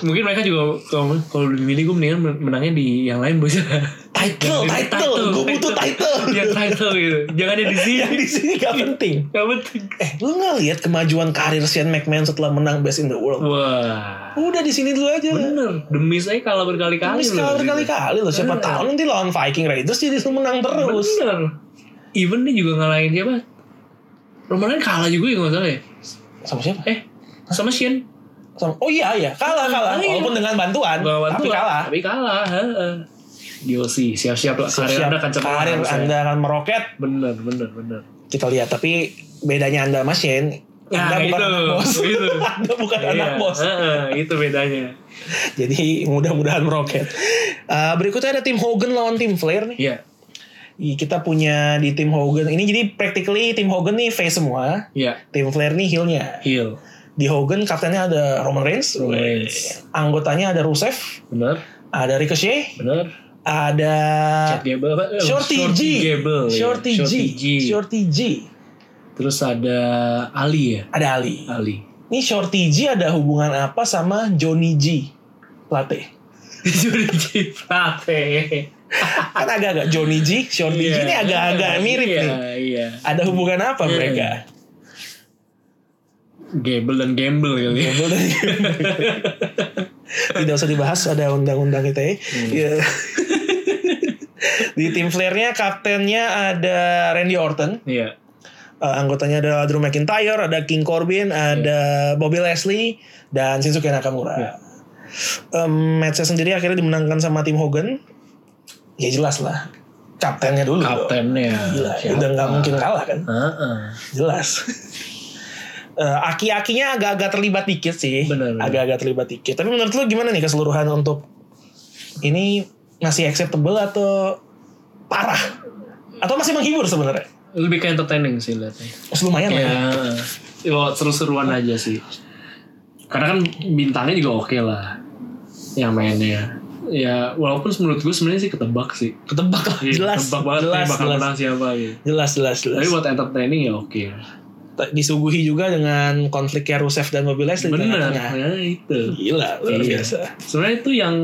Mungkin mereka juga kalau kalau lebih milih gue mendingan menangnya di yang lain bos. title title gue butuh title Iya. Yang title gitu. Jangan yang di yang sini. di sini nggak penting Gak penting. eh lu nggak lihat kemajuan karir Shane McMahon setelah menang Best in the World Wah. udah di sini dulu aja Bener. Demi saya kalah Tapi berkali-kali. loh. sekali kali kali loh siapa Bener. tahu nanti lawan Viking Raiders jadi lu menang terus. Bener. Even dia juga ngalahin siapa? Romanen kalah juga ya nggak salah ya. Sama siapa? Eh sama Shin. Sama, oh iya iya kalah kalah Iya. walaupun dengan bantuan, Kan, tapi kalah. Tapi kalah. heeh. Diosi siap-siap lah. Karir Siap-siap, anda kan, akan cemerlang karir harusnya. anda akan meroket. Bener bener bener. Kita lihat tapi bedanya anda sama Shane. Anda Nah, bukan itu, anak bos. itu. [laughs] anda bukan anak Gitu. Iya, bos. heeh, itu bedanya. Jadi mudah-mudahan meroket. Eh, berikutnya ada tim Hogan lawan tim Flair nih. Iya. Ih, Kita punya di tim Hogan. Ini jadi practically tim Hogan nih face semua. Iya. Tim Flair nih heelnya. Heel. Di Hogan kaptennya ada Roman Reigns. Roman Reigns. Anggotanya ada Rusev. Bener. ada Ricochet, Bener. ada Chad Gable. apa? Eh, Ah, Shorty G. Gable. iya. Shorty G. Shorty G. Terus ada Ali ya. Ada Ali. Ali. [laughs] Ini Shorty G ada hubungan apa sama Johnny G? Plate. Shorty G. Prate. Kan agak-agak Johnny G, Shorty G ini agak-agak mirip iya, nih. Iya. Ada hubungan apa Iya. mereka? Gable dan Gamble kali ya. Gembel dan gembel. Tidak usah dibahas ada undang-undang ITE. Iya. [laughs] Di tim Flair-nya kaptennya ada Randy Orton, Iya. Eh, anggotanya ada Drew McIntyre, ada King Corbin, ada Bobby Leslie, dan Shinsuke Nakamura. Iya. Em, matchnya sendiri akhirnya dimenangkan sama tim Hogan. Ya jelas lah, kaptennya dulu. Kaptennya. Gila, ya. udah nggak mungkin kalah kan, Heeh. jelas. Eh, aki-akinya agak-agak terlibat dikit sih, Benar, benar. agak-agak terlibat dikit. Tapi menurut lu gimana nih keseluruhan untuk ini masih acceptable atau parah? Atau masih menghibur sebenarnya? Lebih ke entertaining sih liatnya. Lumayan lah. ya. Ya, ya seru-seruan aja sih. Karena kan bintangnya juga oke lah yang mainnya. Ya walaupun menurut gue sebenarnya sih ketebak sih. Ketebak lah. gitu. Jelas, Ketebak banget jelas, nih bakal jelas. menang siapa gitu. Jelas, jelas, jelas. Tapi buat entertaining ya oke. T- disuguhi juga dengan konfliknya Rusev dan Bobby Leslie di Bener, tengah-tengah. ya itu. Gila, luar Iya. biasa. Sebenarnya itu yang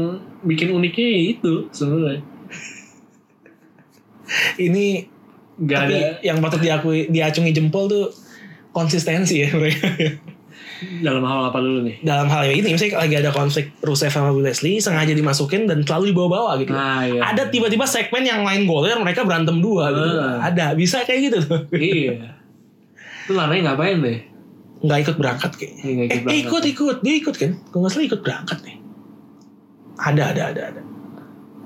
bikin uniknya ya itu sebenarnya. Ini Gak tapi ada yang patut diakui diacungi jempol tuh konsistensi ya mereka. dalam hal apa dulu nih. Dalam hal ini misalnya lagi ada konflik Rusev sama Bobby Leslie sengaja dimasukin dan selalu dibawa-bawa gitu. Nah, iya. Ada tiba-tiba segmen yang lain goler mereka berantem dua gitu. Ah. Ada, bisa kayak gitu tuh. Iya. Itu laranya ngapain deh? [laughs] Nggak ikut berangkat kayaknya. Iya, nggak Eh, eh, ikut berangkat. ikut, ikut. Dia ikut kan? Gue nggak salah ikut berangkat nih. Ada, ada, ada, ada.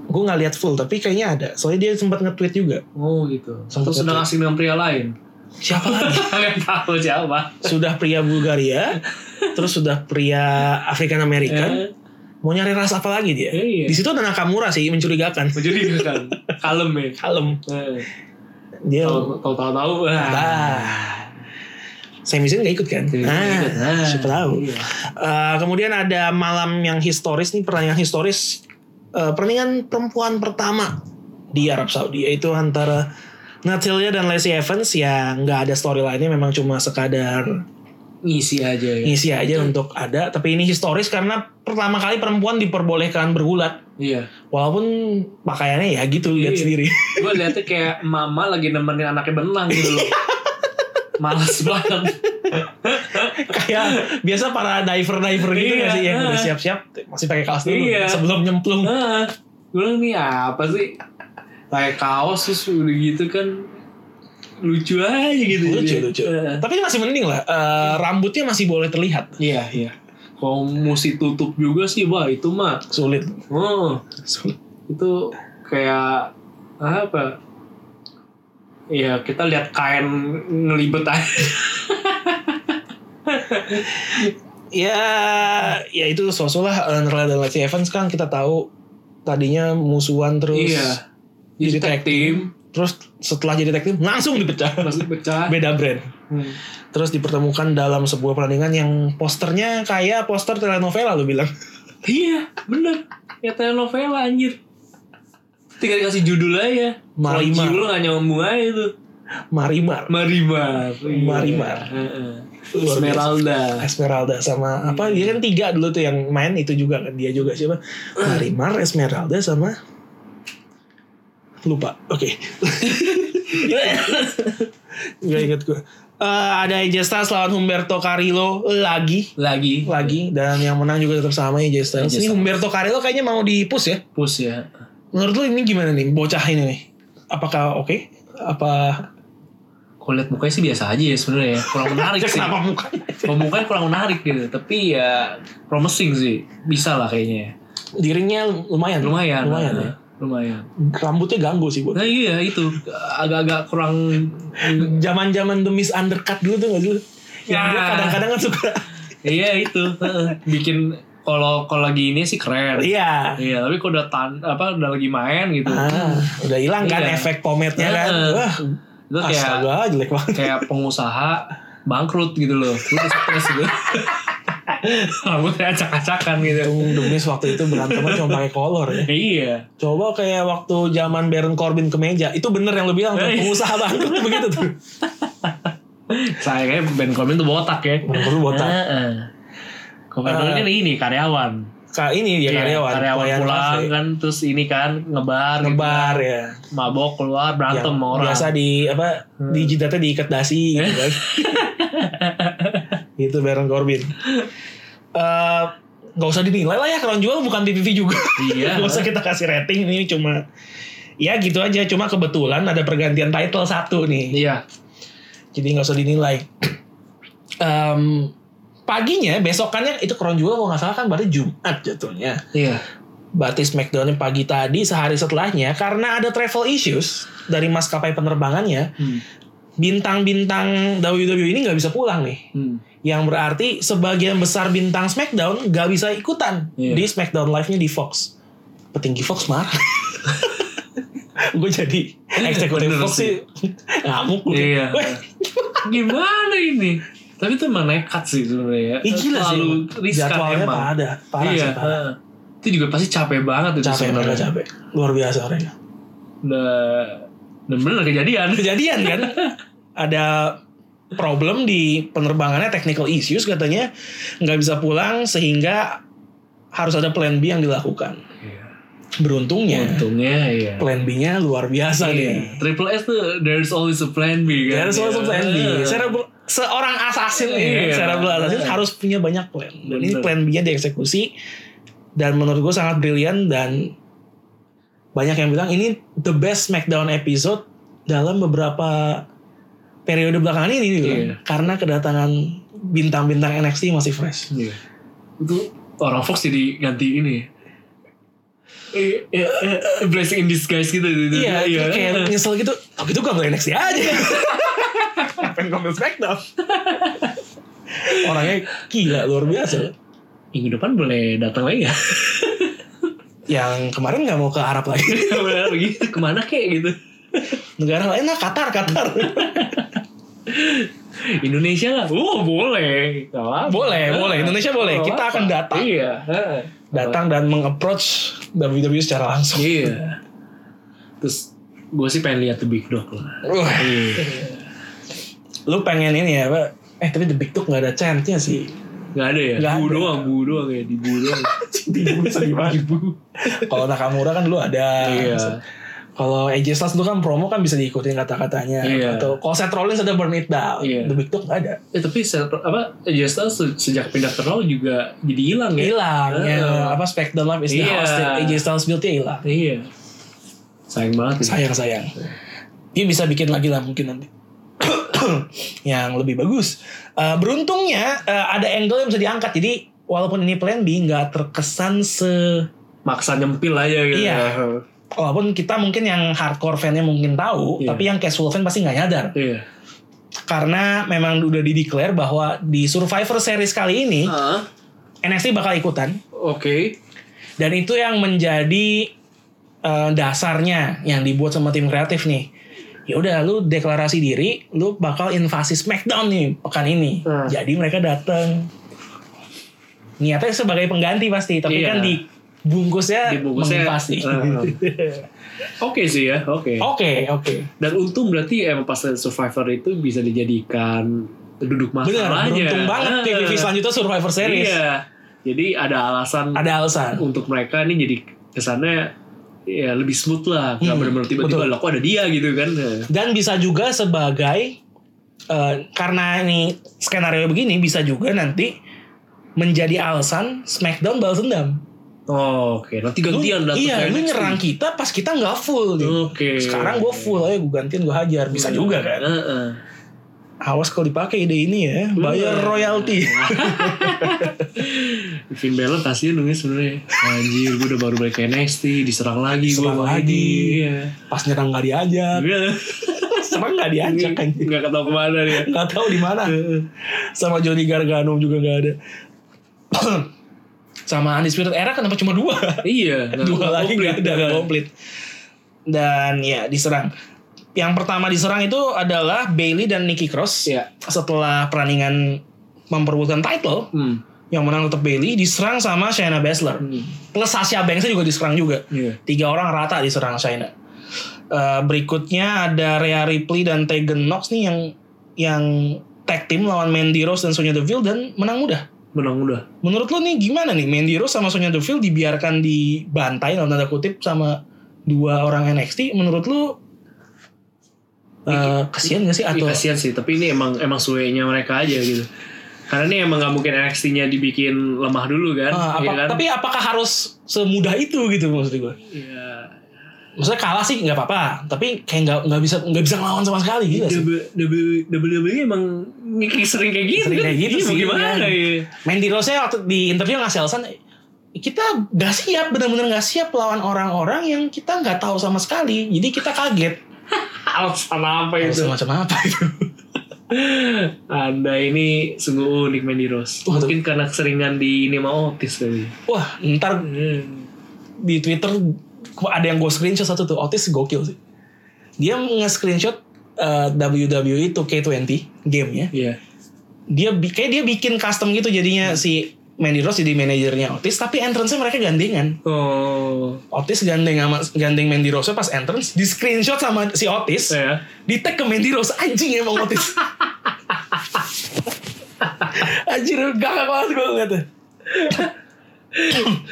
Gue nggak lihat full, tapi kayaknya ada. Soalnya dia sempat nge-tweet juga. Oh gitu. Sempet Terus sedang nge-tweet. asing dengan pria lain. Siapa lagi? Kalian tahu siapa? [laughs] sudah pria Bulgaria, terus sudah pria African American. Eh, Mau nyari ras apa lagi dia? Iya. Di situ ada Nakamura sih mencurigakan. mencurigakan. Kalem ya. Kalem. Eh, Dia Tahu tahu tahu tahu. Ah. Sami Zayn gak ikut kan? Jadi Nah, gitu. Ah, siapa tahu. iya. Eh, kemudian ada malam yang historis nih, pertandingan historis eh, pertandingan perempuan pertama di Arab Saudi yaitu antara Natalia dan Lacey Evans yang nggak ada storyline-nya memang cuma sekadar Ngisi aja ya. ngisi aja untuk ada tapi ini historis karena pertama kali perempuan diperbolehkan bergulat Iya. walaupun pakaiannya ya gitu lihat Iya. sendiri [laughs] Gue liatnya kayak mama lagi nemenin anaknya berenang gitu loh. Males banget. kayak biasa para diver diver gitu Iya. nggak sih yang udah siap siap masih pakai kaos dulu Iya. sebelum nyemplung Heeh. Gue Ah. bilang nih apa sih? Kayak kaos terus udah gitu kan lucu aja gitu. lucu Iya. lucu Heeh. tapi masih mending lah Eh, rambutnya masih boleh terlihat Iya iya. Kalau mesti tutup juga sih, wah itu mah. sulit Oh, sulit itu kayak ah, apa ya kita lihat kain ngelibet aja Ya, ya itu sosok lah Andrea dan Lexi Evans kan kita tahu tadinya musuhan terus iya jadi jadi tag tag team terus setelah jadi tag team langsung dipecah [laughs] langsung pecah beda brand Hmm. terus dipertemukan dalam sebuah pertandingan yang posternya kayak poster telenovela lo bilang iya bener ya telenovela anjir tinggal dikasih judul aja Kalau Marimar. judul nggak nyambung aja itu Marimar Marimar Iya. Marimar. Heeh. Luar biasa. Esmeralda Esmeralda sama apa dia kan tiga dulu tuh yang main itu juga kan dia juga siapa Marimar Esmeralda sama lupa [laughs] oke nggak inget gue Eh, ada AJ Styles lawan Humberto Carrillo lagi lagi lagi dan yang menang juga tetap sama AJ Styles AJ ini Styles. Humberto Carrillo kayaknya mau dipus ya push ya menurut lu ini gimana nih bocah ini nih apakah oke apa kalau lihat mukanya sih biasa aja ya sebenarnya ya. kurang [laughs] menarik sih kenapa mukanya pembukaan kurang menarik gitu tapi ya promising sih bisa lah kayaknya dirinya lumayan lumayan lumayan Nah, ya. lumayan rambutnya ganggu sih bu nah iya itu agak-agak [laughs] kurang zaman-zaman The Miss Undercut dulu tuh gak dulu yang Ya. dia kadang-kadang kan suka iya itu Heeh. bikin kalau kalau lagi ini sih keren iya iya tapi kalau udah tan apa udah lagi main gitu ah, udah hilang kan Iya. efek pomade-nya kan Heeh. wah itu kayak astaga jelek banget kayak pengusaha bangkrut gitu loh lu stres [laughs] gitu rambutnya acak-acakan gitu Untung The Miss waktu itu berantemnya cuma pakai kolor ya iya coba kayak waktu zaman Baron Corbin ke meja itu bener yang lu bilang tuh, Iya. pengusaha bangkrut tuh begitu tuh saya kayak Ben Corbin tuh botak ya Bang, lu botak Heeh. Kalau Ben Corbin kan ini karyawan. kak ini dia Iya, karyawan pelayan pulang kafe. kan terus ini kan ngebar, ngebar ya gitu. mabok keluar berantem Yang sama orang. Hmm. biasa di apa di jidatnya diikat dasi gitu [laughs] kan itu Baron Corbin Eh, nggak usah dinilai lah ya kalau jual bukan PPV juga [laughs] Iya. nggak usah kita kasih rating ini cuma ya gitu aja cuma kebetulan ada pergantian title satu nih Iya. jadi nggak usah dinilai [clears throat] Em, paginya besokannya itu Crown Jewel kalau nggak salah kan berarti Jumat jatuhnya Iya. Berarti Smackdown yang pagi tadi sehari setelahnya karena ada travel issues dari maskapai penerbangannya, Hmm. bintang-bintang WWE ini nggak bisa pulang nih. Hmm. Yang berarti sebagian besar bintang Smackdown nggak bisa ikutan Iya. di Smackdown live-nya di Fox. Petinggi Fox [laughs] marah. gue jadi eksekutif Iya, Bener Fox sih [laughs] ngamuk gue. Iya. Weh, Gimana ini? Tapi itu emang nekat sih sebenarnya. ya. Ih, gila sih. Terlalu riskan Jadwalnya emang. parah ada, parah iya. sih parah. heeh. Itu juga pasti capek banget itu Capek mereka sebenarnya. capek. Luar biasa mereka. Udah dan bener kejadian. kejadian kan ada problem di penerbangannya technical issues katanya nggak bisa pulang sehingga harus ada plan B yang dilakukan Iya. beruntungnya Untungnya iya. plan B-nya luar biasa nih Iya. Triple S tuh there's always a plan B Iya, kan. Harus selalu plan B. Iya. Cerebral- seorang assassin Iya. nih, cerebral assassin Iya. harus punya banyak plan. Dan ini Bener. plan B-nya dieksekusi dan menurut gue sangat brilian dan banyak yang bilang ini the best Smackdown episode dalam beberapa periode belakangan ini dibilang. Iya. karena kedatangan bintang-bintang NXT masih fresh. Iya. Itu orang Fox jadi ganti ini. Eh, eh, eh, Blessing in disguise gitu. gitu. Iya, kayak nyesel gitu. Tapi itu gak NXT aja. [laughs] Ngapain ngambil [laughs] Smackdown? Orangnya gila luar biasa. Minggu depan boleh datang lagi [laughs] ya? Yang kemarin nggak mau ke Arab lagi. [laughs] Benar gitu. Kemana kek gitu? negara lain lah Qatar [laughs] Qatar Indonesia lah. Oh boleh. Nggak apa-apa. Boleh, Nah, boleh. Indonesia boleh. nggak Kita apa-apa. akan datang. Iya. datang dan mengapproach WWE secara langsung Iya. Terus gue sih pengen lihat The Big Dog lah. Wah, Iya. lu pengen ini ya Pak eh tapi The Big Dog nggak ada chance-nya sih Gak ada ya? Nggak Bu ada. doang, bu doang ya. Di bu [laughs] doang. Dibu sedih banget. Ibu. kalau Nakamura kan dulu ada Iya. kalau AJ Styles dulu kan promo kan bisa diikutin kata-katanya Iya. atau kalau Seth Rollins ada Burn It Down Iya. The Big Dog nggak ada Eh tapi se- apa Justin se- sejak pindah ke Raw juga jadi hilang ya? hilang ya Heeh. apa Smackdown Live is the Iya. host AJ Styles build-nya hilang Iya. Sayang banget. ya. sayang-sayang dia bisa bikin lagi lah mungkin nanti [coughs] yang lebih bagus Eh, beruntungnya eh, ada angle yang bisa diangkat jadi walaupun ini plan B nggak terkesan se maksa nyempil aja gitu. Iya. Walaupun kita mungkin yang hardcore fan-nya mungkin tahu, Iya. tapi yang casual fan pasti nggak nyadar. Iya. Karena memang udah di-declare bahwa di Survivor Series kali ini, Ah, NXT bakal ikutan. Oke. Dan itu yang menjadi eh, dasarnya yang dibuat sama tim kreatif nih. Ya udah lu deklarasi diri, lu bakal invasi Smackdown nih pekan ini. Hmm. Jadi mereka datang. Niatnya sebagai pengganti pasti, tapi kan Iya. dibungkusnya, Dibungkusnya- menginvasi. Hmm. Oke sih ya, oke. [laughs] Oke, oke. Dan untung berarti emang pas lihat Survivor itu bisa dijadikan duduk Bener, masalahnya. beruntung banget ya, Ah. PPV selanjutnya Survivor Series. Iya. Jadi ada alasan Ada alasan. kan untuk mereka ini jadi kesannya ya lebih smooth lah. Gak Hmm, benar-benar tiba-tiba betul. lah kok ada dia gitu kan. Dan bisa juga sebagai eh, karena ini skenario begini bisa juga nanti menjadi alasan SmackDown balas dendam. Oh, oke. Nanti Lu- gantian datang iya, ke lu NXT. nyerang kita pas kita nggak full nih. Oke. Hmm. Sekarang gue full aja gue gantiin gue hajar bisa juga kan. Heeh. Hmm. Awas kalau dipakai ide ini ya bayar Bener. [laughs] royalti. Finn Balor kasihan dong ya sebenarnya. Anjir, gue udah baru balik ke NXT, diserang lagi gue Diserang lagi. Iya. Pas nyerang nggak Hmm. diajak, [laughs] serang nggak diajak kan? Gak ketau kemana dia. Nggak tahu di mana. Hmm. Sama Johnny Gargano juga nggak ada. [clears throat] Sama Undisputed Era kenapa cuma dua? iya. nggak- dua nggak lagi komplit, nggak ada nggak kan. komplit dan ya diserang yang pertama diserang itu adalah Bailey dan Nikki Cross Iya. setelah perandingan memperebutkan title Hmm. yang menang tetap Bailey diserang sama Shayna Baszler Hmm. plus Sasha Banks juga diserang juga Iya. tiga orang rata diserang Shayna Eh, berikutnya ada Rhea Ripley dan Tegan Knox nih yang yang tag team lawan Mandy Rose dan Sonya Deville dan menang mudah Menang udah. Menurut lo nih gimana nih Mandy Rose sama Sonya Deville dibiarkan dibantai dalam tanda kutip sama dua orang NXT menurut lo eh kasihan gak sih Iya, atau kasihan sih, tapi ini emang emang suenya mereka aja gitu. Karena ini emang nggak mungkin NXT-nya dibikin lemah dulu kan, Ah, apa- iya kan? tapi apakah harus semudah itu gitu maksud gue Iya. maksudnya kalah sih nggak apa-apa tapi kayak nggak nggak bisa nggak bisa ngelawan sama sekali gitu sih W- W- WWE emang ngiki sering kayak gitu Sering kan? kayak gitu Iya, mau sih, Gimana iya. ya? Mandy Rose nya waktu di interview ngasih alasan kita gak siap benar-benar gak siap lawan orang-orang yang kita nggak tahu sama sekali jadi kita kaget Alasan apa Iya, itu? Alasan macam apa [laughs] itu Anda ini sungguh unik Mandy Rose. Waduh. Mungkin karena keseringan di ini sama Otis kali. wah ntar Hmm. di Twitter ada yang gue screenshot satu tuh Otis gokil sih dia nge-screenshot eh, WWE 2K20 gamenya Iya. dia bi- kayak dia bikin custom gitu jadinya si Mandy Rose jadi manajernya Otis tapi entrance-nya mereka gandengan Oh. Otis gandeng sama gandeng Mandy Rose pas entrance di screenshot sama si Otis Ya. di tag ke Mandy Rose anjing emang Otis anjir gak banget gue ngeliatnya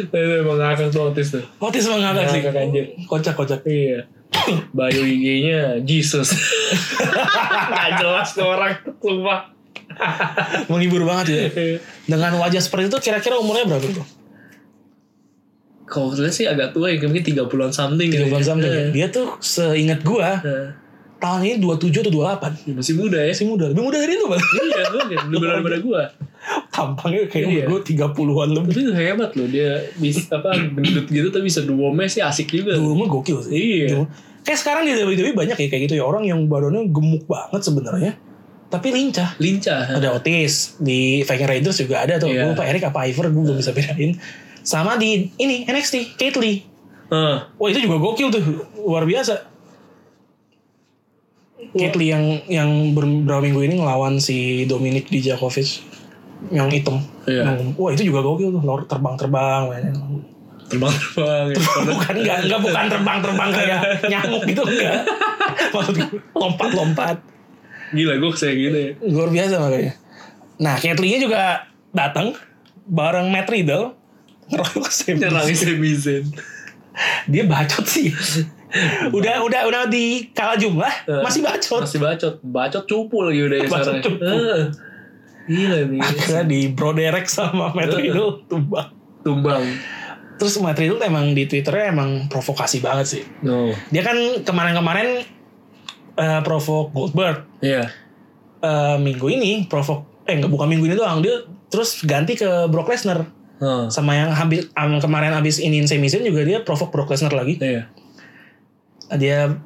Itu emang ngakak tuh Otis tuh. Otis emang ngakak sih Ngakak, anjir. kocak kocak Iya. [coughs] Bio IG-nya [laughs] Jesus. Gak jelas tuh orang sumpah. menghibur banget ya Dengan wajah seperti itu kira-kira umurnya berapa tuh? [laughs] Kalau saya sih agak tua ya, mungkin 30-an something gitu. 30 something ya. Eh, Dia tuh seingat gua eh. tahun ini 27 atau 28. Ya, masih muda ya. Masih Iya muda, lebih muda dari lu Bang. Iya, mungkin. [laughs] Lebih muda daripada gua. Tampangnya kayak umur Iya. gua 30-an lebih. Tapi itu hebat loh, dia bisa apa gendut gitu tapi bisa duomnya sih asik juga. Dulu mah gokil sih. Iya. Dulu. Kayak sekarang di WWE banyak ya kayak gitu ya orang yang badannya gemuk banget sebenarnya. Tapi lincah. Lincah. ha? Ada Otis di Viking Raiders juga ada tuh. Iya. Gua lupa Eric apa Ivor gua belum bisa bedain. Sama di ini NXT, Kate Lee. Heeh. Wah itu juga gokil tuh, luar biasa. Kitli yang yang ber- beberapa minggu ini ngelawan si Dominic Dijakovic yang hitam. Iya. Yang- Wah itu juga gokil tuh, lor terbang-terbang. mainnya. Terbang-terbang. ya. Bukan enggak, enggak bukan terbang-terbang kayak nyamuk gitu [laughs] enggak. Maksud gue, lompat-lompat. [laughs] Gila, gue kayak gitu ya. Luar biasa makanya. Nah, Kitli-nya juga datang bareng Matt Riddle. Ngeroyok Sami Nyerang Sami Zayn. dia bacot [laughs] sih udah udah udah di kalah jumlah Eh. masih [laughs] bacot Masih bacot. Bacot cupu lagi udah ya Bacot sekarang. cupu. Heeh. Gila nih. akhirnya di broderek sama Matt Eh. Riddle tumbang Tumbang. terus Matt Riddle emang di twitternya emang provokasi banget sih No. dia kan kemarin-kemarin eh, provok Goldberg Iya. Eh, minggu ini provok eh nggak bukan minggu ini doang dia terus ganti ke Brock Lesnar Hmm. Sama yang habis am- kemarin habis iniin semisin juga dia provok Brock Lesnar lagi. Iya. Dia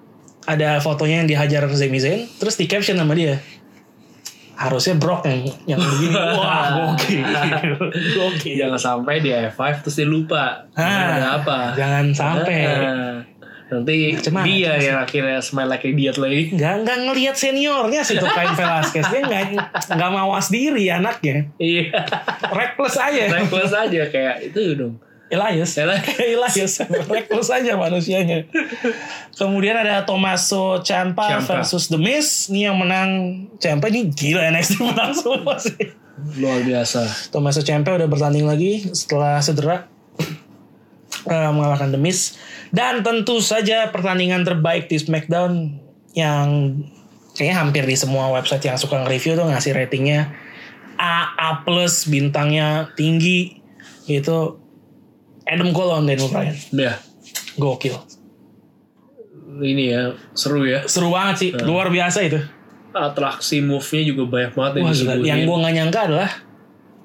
ada fotonya yang dihajar Sami Zayn, terus di caption sama dia. Harusnya Brock yang yang begini. [laughs] Wah, gokil. gokil. Jangan sampai di F5 terus dia lupa. Ah, ada apa? Jangan sampai. Ah, nanti Macem-macem dia yang akhirnya smile like a idiot [laughs] lagi. Nggak, nggak ngelihat seniornya sih tuh Cain Velasquez. Dia nggak, nggak mawas diri anaknya. Iya. Reckless aja. Reckless aja kayak itu dong. Elias. Saya Elias. Reckless aja manusianya. Kemudian ada Tommaso Ciampa, Ciampa. versus The Miz. Ini yang menang Ciampa. Ini gila NXT [laughs] menang semua sih. luar biasa. Tommaso Ciampa udah bertanding lagi setelah cedera. [clears throat] Eh, mengalahkan The Miz. Dan tentu saja pertandingan terbaik di SmackDown yang kayaknya hampir di semua website yang suka nge-review tuh ngasih ratingnya AA plus bintangnya tinggi itu Adam Cole lawan Daniel Bryan Ya, gokil ini ya seru ya. seru banget sih luar biasa itu Atraksi move-nya juga banyak banget yang Wah, gila. disebutin. yang gue nggak nyangka adalah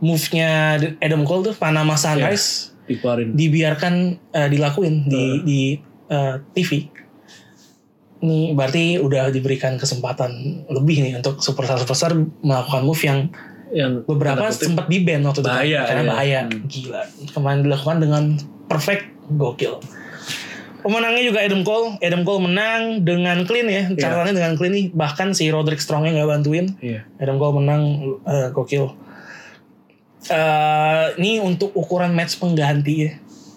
move-nya Adam Cole tuh Panama Sunrise Dikeluarin. dibiarkan eh, dilakuin di di eh, TV. Ini berarti udah diberikan kesempatan lebih nih untuk superstar superstar melakukan move yang yang beberapa tanda kutip, sempat di ban waktu itu kan, Bahaya, karena iya. bahaya Hmm. gila kemarin dilakukan dengan perfect gokil pemenangnya juga Adam Cole Adam Cole menang dengan clean ya catatannya dengan clean nih bahkan si Roderick Strongnya nggak bantuin Iya. Adam Cole menang eh, gokil. Eh, ini untuk ukuran match pengganti ya.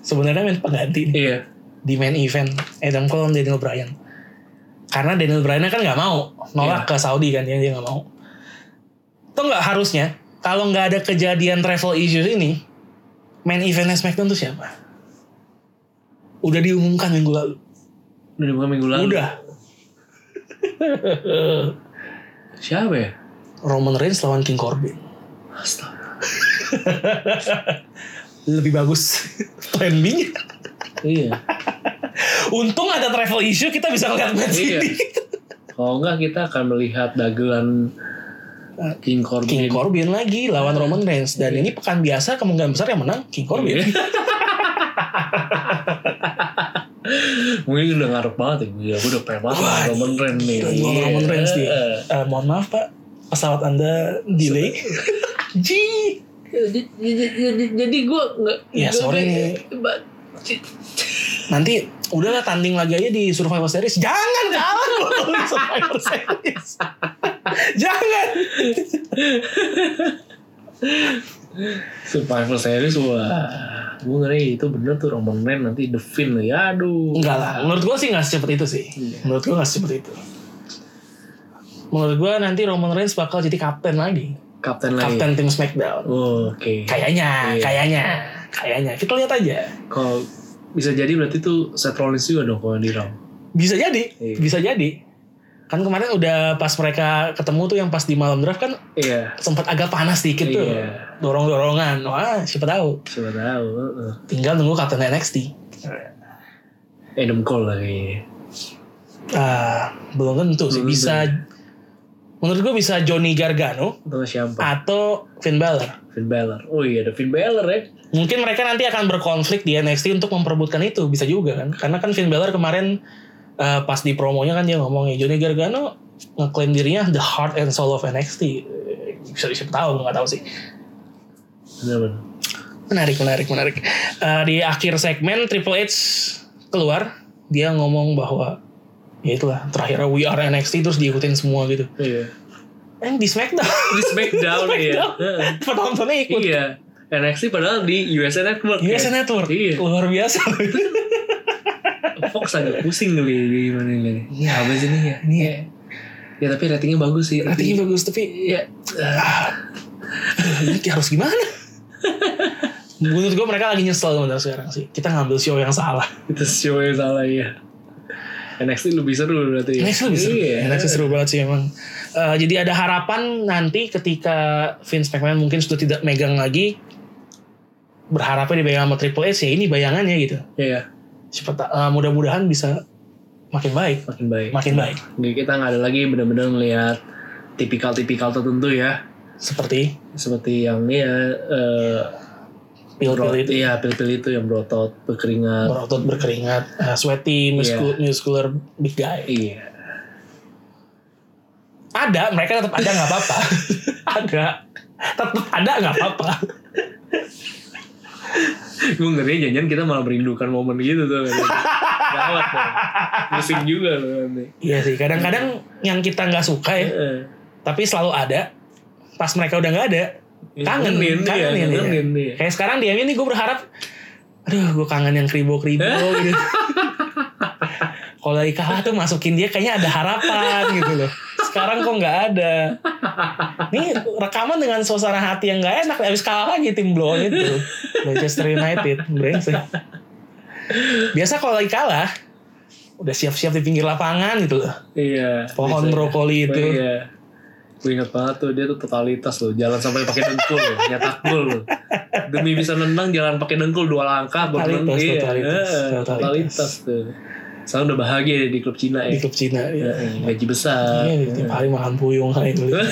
Sebenarnya match pengganti nih, Iya. di main event Adam Cole dan Daniel Bryan. Karena Daniel Bryan kan nggak mau Iya. nolak ke Saudi kan dia dia nggak mau. Tuh nggak harusnya kalau nggak ada kejadian travel issues ini main eventnya SmackDown tuh siapa? Udah diumumkan minggu lalu. Udah dibuka minggu lalu. Udah Siapa ya? Roman Reigns lawan King Corbin. Astaga. Lebih bagus [laughs] plan B-nya. iya. Untung ada travel issue kita bisa ngeliat match Iya. ini. Kalau enggak kita akan melihat dagelan King Corbin. King Corbin lagi lawan Iya. Roman Reigns dan ini pekan biasa kemungkinan besar yang menang King Corbin. Iya. [laughs] Mungkin udah ngarep banget ya. Gila, gue udah pengen banget Wah, sama Roman Reigns nih. Dan lawan Roman Reigns nih. Iya. Eh, mohon maaf Pak, pesawat Anda [laughs] delay. Ji. Jadi, jadi, jadi gue nggak. Ya, sorry nih. Ba- Nanti udahlah tanding lagi aja di Survivor Series. Jangan [laughs] kalah loh di Survivor Series. Jangan. Survivor Series wah. Gue ngeri itu bener tuh Roman Reigns nanti The Finn nih. Aduh. Enggak lah. Menurut gua sih nggak secepat itu sih. Iya. Menurut gua nggak secepat itu. Menurut gua nanti Roman Reigns bakal jadi kapten lagi. Kapten lagi. Kapten tim SmackDown. Oh, Oke. Kayaknya, Nah, Iya. kayaknya, kayaknya. Kita lihat aja. Kalau bisa jadi berarti tuh Seth Rollins juga dong kalau di Raw. Bisa jadi, Iya. bisa jadi. Kan kemarin udah pas mereka ketemu tuh yang pas di malam draft kan Iya. sempat agak panas dikit tuh. Iya. Dorong-dorongan. Wah, siapa tahu. Siapa tahu. heeh. Tinggal nunggu kapten NXT. Adam Cole lagi. Ah, belum tentu sih Belum tentu. bisa Menurut gue bisa Johnny Gargano Atau siapa? atau Finn Balor. Finn Balor. Oh iya ada Finn Balor ya. Mungkin mereka nanti akan berkonflik di NXT untuk memperebutkan itu, bisa juga kan. Karena kan Finn Balor kemarin eh, pas di promonya kan dia ngomong ya Johnny Gargano ngeklaim dirinya the heart and soul of NXT. Eh, Bisa siapa tahu nggak tahu sih. Bener bener. Menarik, menarik, menarik. Eh, di akhir segmen Triple H keluar, dia ngomong bahwa ya itulah terakhir we are NXT terus diikutin semua gitu. Iya. Eh di SmackDown [laughs] Di SmackDown ya. Smackdown. Heeh. penontonnya ikut. Iya. NXT padahal di USA Network. ya. USA Network Iya. luar biasa. Fox agak pusing kali ya, gimana ini. Iya, apa sih ini ya? Ini ya. Ya tapi ratingnya bagus sih. Artinya bagus tapi ya ini harus gimana? Menurut gue mereka lagi nyesel bener sekarang sih. Kita ngambil show yang salah. itu show yang salah ya. NXT lebih seru berarti. ya. NXT lebih seru. Iya. NXT seru banget sih emang. Eh, jadi ada harapan nanti ketika Vince McMahon mungkin sudah tidak megang lagi berharapnya dipegang sama Triple H ya ini bayangannya gitu. Iya, Siapa ta- eh, mudah-mudahan bisa makin baik, makin baik. makin baik. Jadi kita nggak ada lagi benar-benar melihat tipikal-tipikal tertentu ya. Seperti Seperti yang ya eh, pil-pil itu Iya, pil-pil itu yang berotot, berkeringat. berotot berkeringat uh, sweaty muscu- muscular big guy Iya. ada mereka tetap ada nggak apa-apa ada tetap ada nggak apa-apa Gue ngerinya jangan kita malah merindukan momen gitu tuh. Gawat dong. Musim juga tuh nanti. Eh, iya sih kadang-kadang yang kita nggak suka ya Heeh. tapi selalu ada pas mereka udah nggak ada kangen Kangenin dia, kangenin ya. kangenin dia. kayak sekarang dia ini gue berharap aduh gue kangen yang kribo kribo gitu kalau lagi kalah tuh masukin dia kayaknya ada harapan gitu loh sekarang kok nggak ada nih rekaman dengan suasana hati yang nggak enak habis kalah lagi tim blow itu Manchester United brengsek biasa kalau lagi kalah udah siap-siap di pinggir lapangan gitu loh Iya. pohon gitu. bisa. brokoli itu Iya. Gue inget banget tuh dia tuh totalitas loh, jalan sampai pakai dengkul loh, nyetak gol loh. Demi bisa nendang jalan pakai dengkul dua langkah Totalitas, baru nendang. totalitas, Iya, eh, totalitas. totalitas tuh. Sekarang udah bahagia dia di klub Cina di ya. klub Cina Iya, ya. Gaji besar. Iya, tiap hari makan puyung kali ya, dulu. [laughs]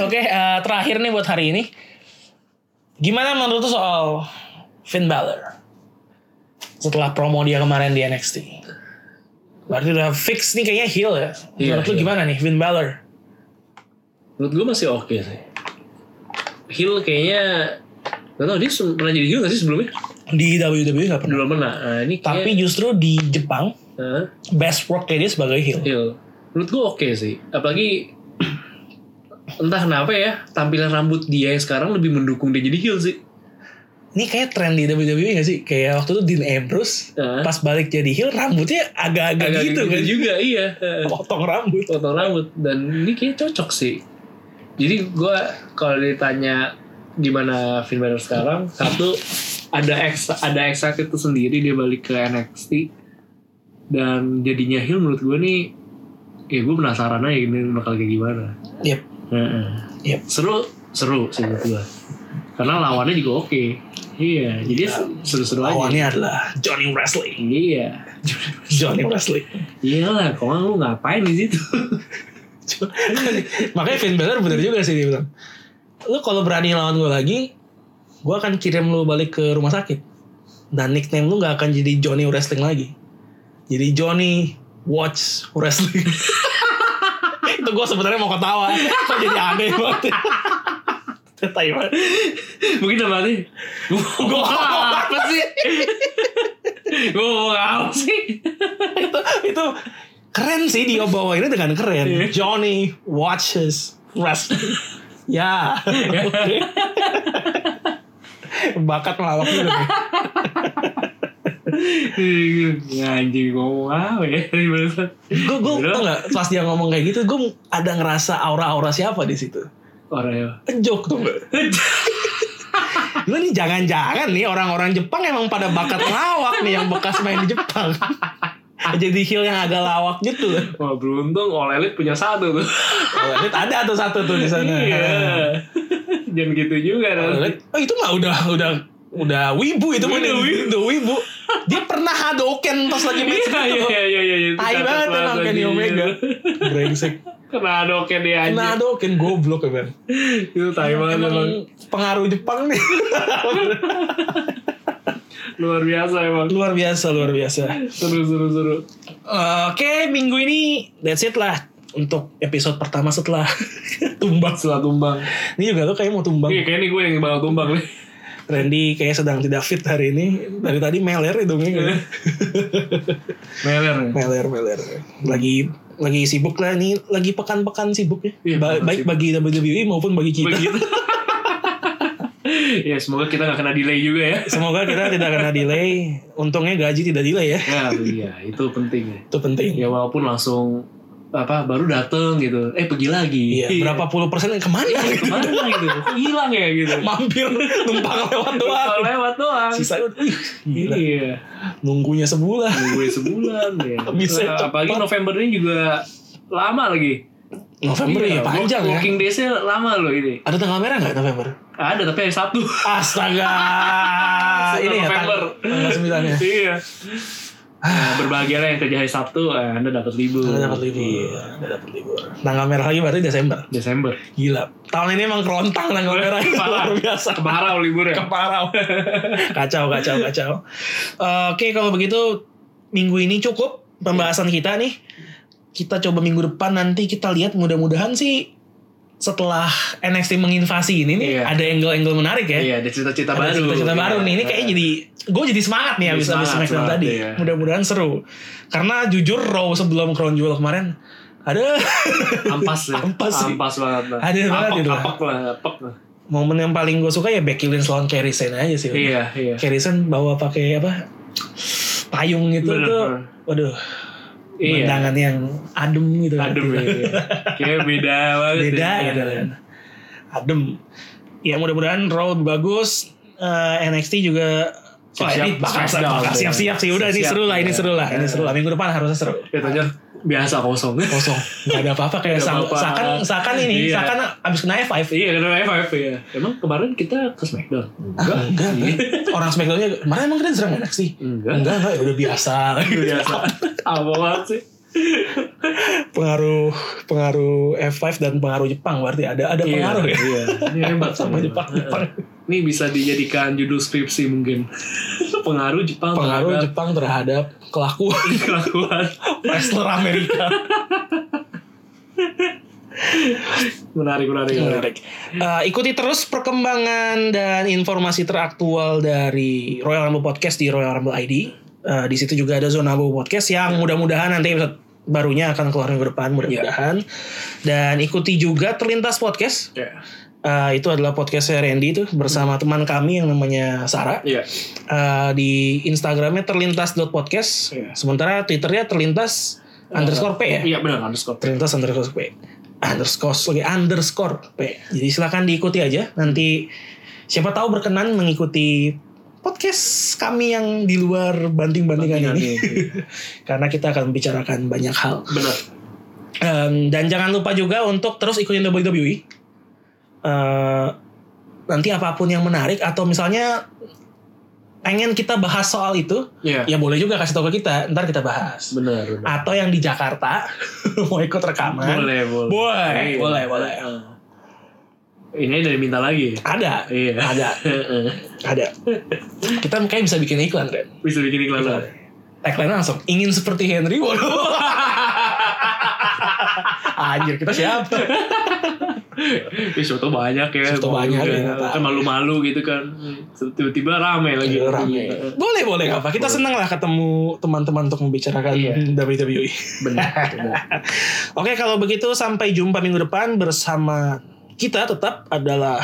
Oke, eh, terakhir nih buat hari ini. Gimana menurut lu soal Finn Balor? Setelah promo dia kemarin di NXT. Berarti udah fix nih kayaknya heel ya. Iya, Menurut lu iya. gimana nih Finn Balor? Menurut gue masih oke sih. Hill kayaknya Gak tau dia sem- pernah jadi heel gak sih sebelumnya? Di WWE gak pernah. Belum pernah. Nah, ini Tapi kayak, justru di Jepang, Hah? best work dia sebagai heel. Hill. Menurut gue oke sih. Apalagi entah kenapa ya tampilan rambut dia yang sekarang lebih mendukung dia jadi heel sih. Ini kayak tren di WWE gak sih? Kayak waktu itu Dean Ambrose Heeh. pas balik jadi heel rambutnya agak-agak Agak gitu kan juga iya. [laughs] Heeh. potong rambut Potong rambut dan ini kayak cocok sih. Jadi gue kalau ditanya gimana Finn Balor sekarang, satu ada ekstra, ada excited itu sendiri dia balik ke NXT dan jadinya heel menurut gue nih ya gue penasaran aja ini bakal kayak gimana. Yep. Heeh. Yep. Seru, seru sih menurut gue. Karena lawannya juga oke. Iya, jadi seru-seru aja. lawannya adalah Johnny Wrestling Iya. Johnny Wrestling Iyalah, kok nggak lu ngapain di situ? [laughs] makanya Finn Balor bener juga sih dia bilang lu kalau berani lawan gue lagi gue akan kirim lu balik ke rumah sakit dan nickname lu gak akan jadi Johnny Wrestling lagi jadi Johnny Watch Wrestling [laughs] itu gue sebenarnya mau ketawa kok jadi aneh [laughs] banget Tai banget. Mungkin dalam hati Gue apa [laughs] sih? Gue mau apa sih? itu itu keren sih dia bawainnya dengan keren Iya. Johnny watches [laughs] wrestling ya oke. bakat melawak juga nih. Ya, Anjing ngomong apa ya Barusan. gue gue Bener. tau nggak pas dia ngomong kayak gitu gue ada ngerasa aura-aura siapa di situ Orang ya jok tuh [laughs] nggak lu nih jangan-jangan nih orang-orang Jepang emang pada bakat lawak nih yang bekas main di [laughs] Jepang jadi heel yang agak lawak gitu loh. Wah beruntung All Elite punya satu tuh Oh, ada tuh satu tuh di sana. Iya Jangan gitu juga nanti. Oh itu mah udah udah udah wibu itu mah Udah udah wibu. wibu. Dia pernah hadoken pas lagi match Iya itu. iya iya iya itu Tai catat banget emang Kenny lagi. Omega. Brengsek. Kena adoken dia Kena anjing hadoken goblok ya bang. Itu tai banget emang Emang pengaruh Jepang [laughs] nih. Luar biasa emang luar biasa luar biasa. Seru seru seru Oke minggu ini that's it lah untuk episode pertama setelah [laughs] tumbang. Setelah tumbang Ini juga lo kayak mau tumbang. Iya kayaknya gue yang bakal tumbang nih Randy kayak sedang tidak fit hari ini. Dari tadi meler hidungnya. kayaknya. [laughs] Meler ya? meler meler lagi lagi sibuk lah ini lagi pekan-pekan sibuk ya Iya, Ba- pekan baik bagi WWE maupun bagi kita [laughs] Begitu. [laughs] ya semoga kita nggak kena delay juga ya. semoga kita tidak kena delay untungnya gaji tidak delay ya Nah, iya itu penting ya. itu penting Ya walaupun langsung apa baru dateng gitu, eh pergi lagi. iya berapa puluh persen yang kemana gitu. [laughs] Kemana gitu? Kok Hilang ya gitu. [laughs] mampir numpang lewat doang Kalau lewat doang. sisanya ih, gila. Iya. nunggunya sebulan Nungguin sebulan ya. [laughs] Bisa Nah, cepat. Apalagi November ini juga lama lagi. November ya Iya, panjang walk- ya Walking days-nya lama loh ini. ada tanggal merah nggak November Ada tapi hari Sabtu. [laughs] astaga ini ya tang- November. ya? tanggal sembilan ya Iya. Nah, berbahagialah yang kerja hari Sabtu, eh, Anda dapat libur. Udah dapat libur. Iya. Udah dapat libur. Tanggal merah lagi berarti Desember. Desember. Gila. Tahun ini emang kerontang tanggal merah [laughs] Parah. luar biasa. Kemarau liburnya. Keparau. [laughs] kacau, kacau, kacau. Eh, Oke, kalau begitu minggu ini cukup pembahasan kita nih. Kita coba minggu depan nanti kita lihat mudah-mudahan sih setelah NXT menginvasi ini nih Iya. ada angle-angle menarik ya. Iya, ada cita-cita Ada baru. cerita-cerita Iya. baru nih. Ini kayaknya jadi gue jadi semangat nih Jadi habis habis semangat, SmackDown semangat, tadi. iya. Mudah-mudahan seru. Karena jujur Raw sebelum Crown Jewel kemarin ada [laughs] ampas ya. Ampas sih. ampas banget lah. Ada banget apek, itu. apek lah, apek lah. momen yang paling gue suka ya Becky Lynch lawan Kerry Sane aja sih. Iya, iya. Kerry Sane bawa pakai apa? payung gitu Bener, tuh. bener. Waduh, Iya. pandangan yang adem gitu. Adem ya. iya. Kayaknya beda banget. Beda ya. gitu kan. Adem. Ya mudah-mudahan Raw bagus. Eh, NXT juga Wah, Siap-siap, ini bakal siap-siap. bakal siap-siap sih. Udah ini Siap-siap, seru lah, ini iya. seru lah, ini Iya. seru lah. Minggu depan harusnya seru. Ya tanya biasa kosong. kosong nggak ada apa-apa kayak Nggak sang- apa-apa. seakan seakan ini Iya. seakan abis kena F5 iya, karena FF ya. Emang kemarin kita ke Smackdown? Enggak. Ah, enggak orang Smackdownnya kemarin emang kalian serang enak sih Enggak. Iya, enggak enggak ya udah biasa Biasa. Apa banget sih? [laughs] pengaruh pengaruh F5 dan pengaruh Jepang berarti ada ada pengaruh ya Iya. Ini hebat Iya. sama Jepang Jepang Ini bisa dijadikan judul skripsi [laughs] mungkin. pengaruh Jepang pengaruh terhadap Jepang terhadap [laughs] kelakuan kelakuan wrestler Amerika menarik menarik menarik. Iya, menarik Eh, ikuti terus perkembangan dan informasi teraktual dari Royal Rumble Podcast di Royal Rumble ID Eh, di situ juga ada Zona Bobo Podcast yang mudah-mudahan nanti episode barunya akan keluar minggu depan mudah-mudahan dan ikuti juga terlintas podcast Iya. Eh, itu adalah podcast Randy itu bersama teman kami yang namanya Sarah Iya. Eh, di Instagramnya terlintas.podcast Iya. sementara Twitternya terlintas underscore P ya Iya benar underscore. Terlintas underscore P. Underscore lagi underscore P. Jadi silakan diikuti aja. Nanti siapa tahu berkenan mengikuti podcast kami yang di luar banting-bantingan ini. Karena kita akan membicarakan banyak hal. [laughs] Benar. Em, dan jangan lupa juga untuk terus ikutin WWE. Eh, nanti apapun yang menarik atau misalnya pengen kita bahas soal itu, Iya. ya boleh juga kasih tahu ke kita. Ntar kita bahas. Benar. benar. Atau yang di Jakarta [laughs] mau ikut rekaman. Boleh boleh. Ah, Boleh, Iya. boleh, boleh. Ini dari minta lagi. Ada, Iya. [laughs] ada, ada. Kita kayak bisa bikin iklan, Ren. bisa bikin iklan lah. Tagline langsung, ingin seperti Henry Waduh. [laughs] Anjir, kita siapa? Ya siapa tau banyak ya. Siapa tau Iya. banyak, Juga. ya, nggak tahu. Kan malu-malu gitu kan. Tiba-tiba rame lagi. Rame. Boleh, boleh nggak apa. Kita Iya, Boleh. seneng lah ketemu teman-teman untuk membicarakan Iya. WWE. Benar. benar. [laughs] Oke, kalau begitu sampai jumpa minggu depan bersama kita tetap adalah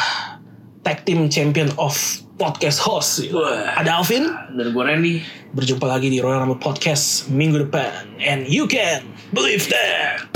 Tag Team Champion of Podcast Host. Wah. Ada Alvin, Dan gue Randy. berjumpa lagi di Royal Rumble Podcast minggu depan. And you can believe that.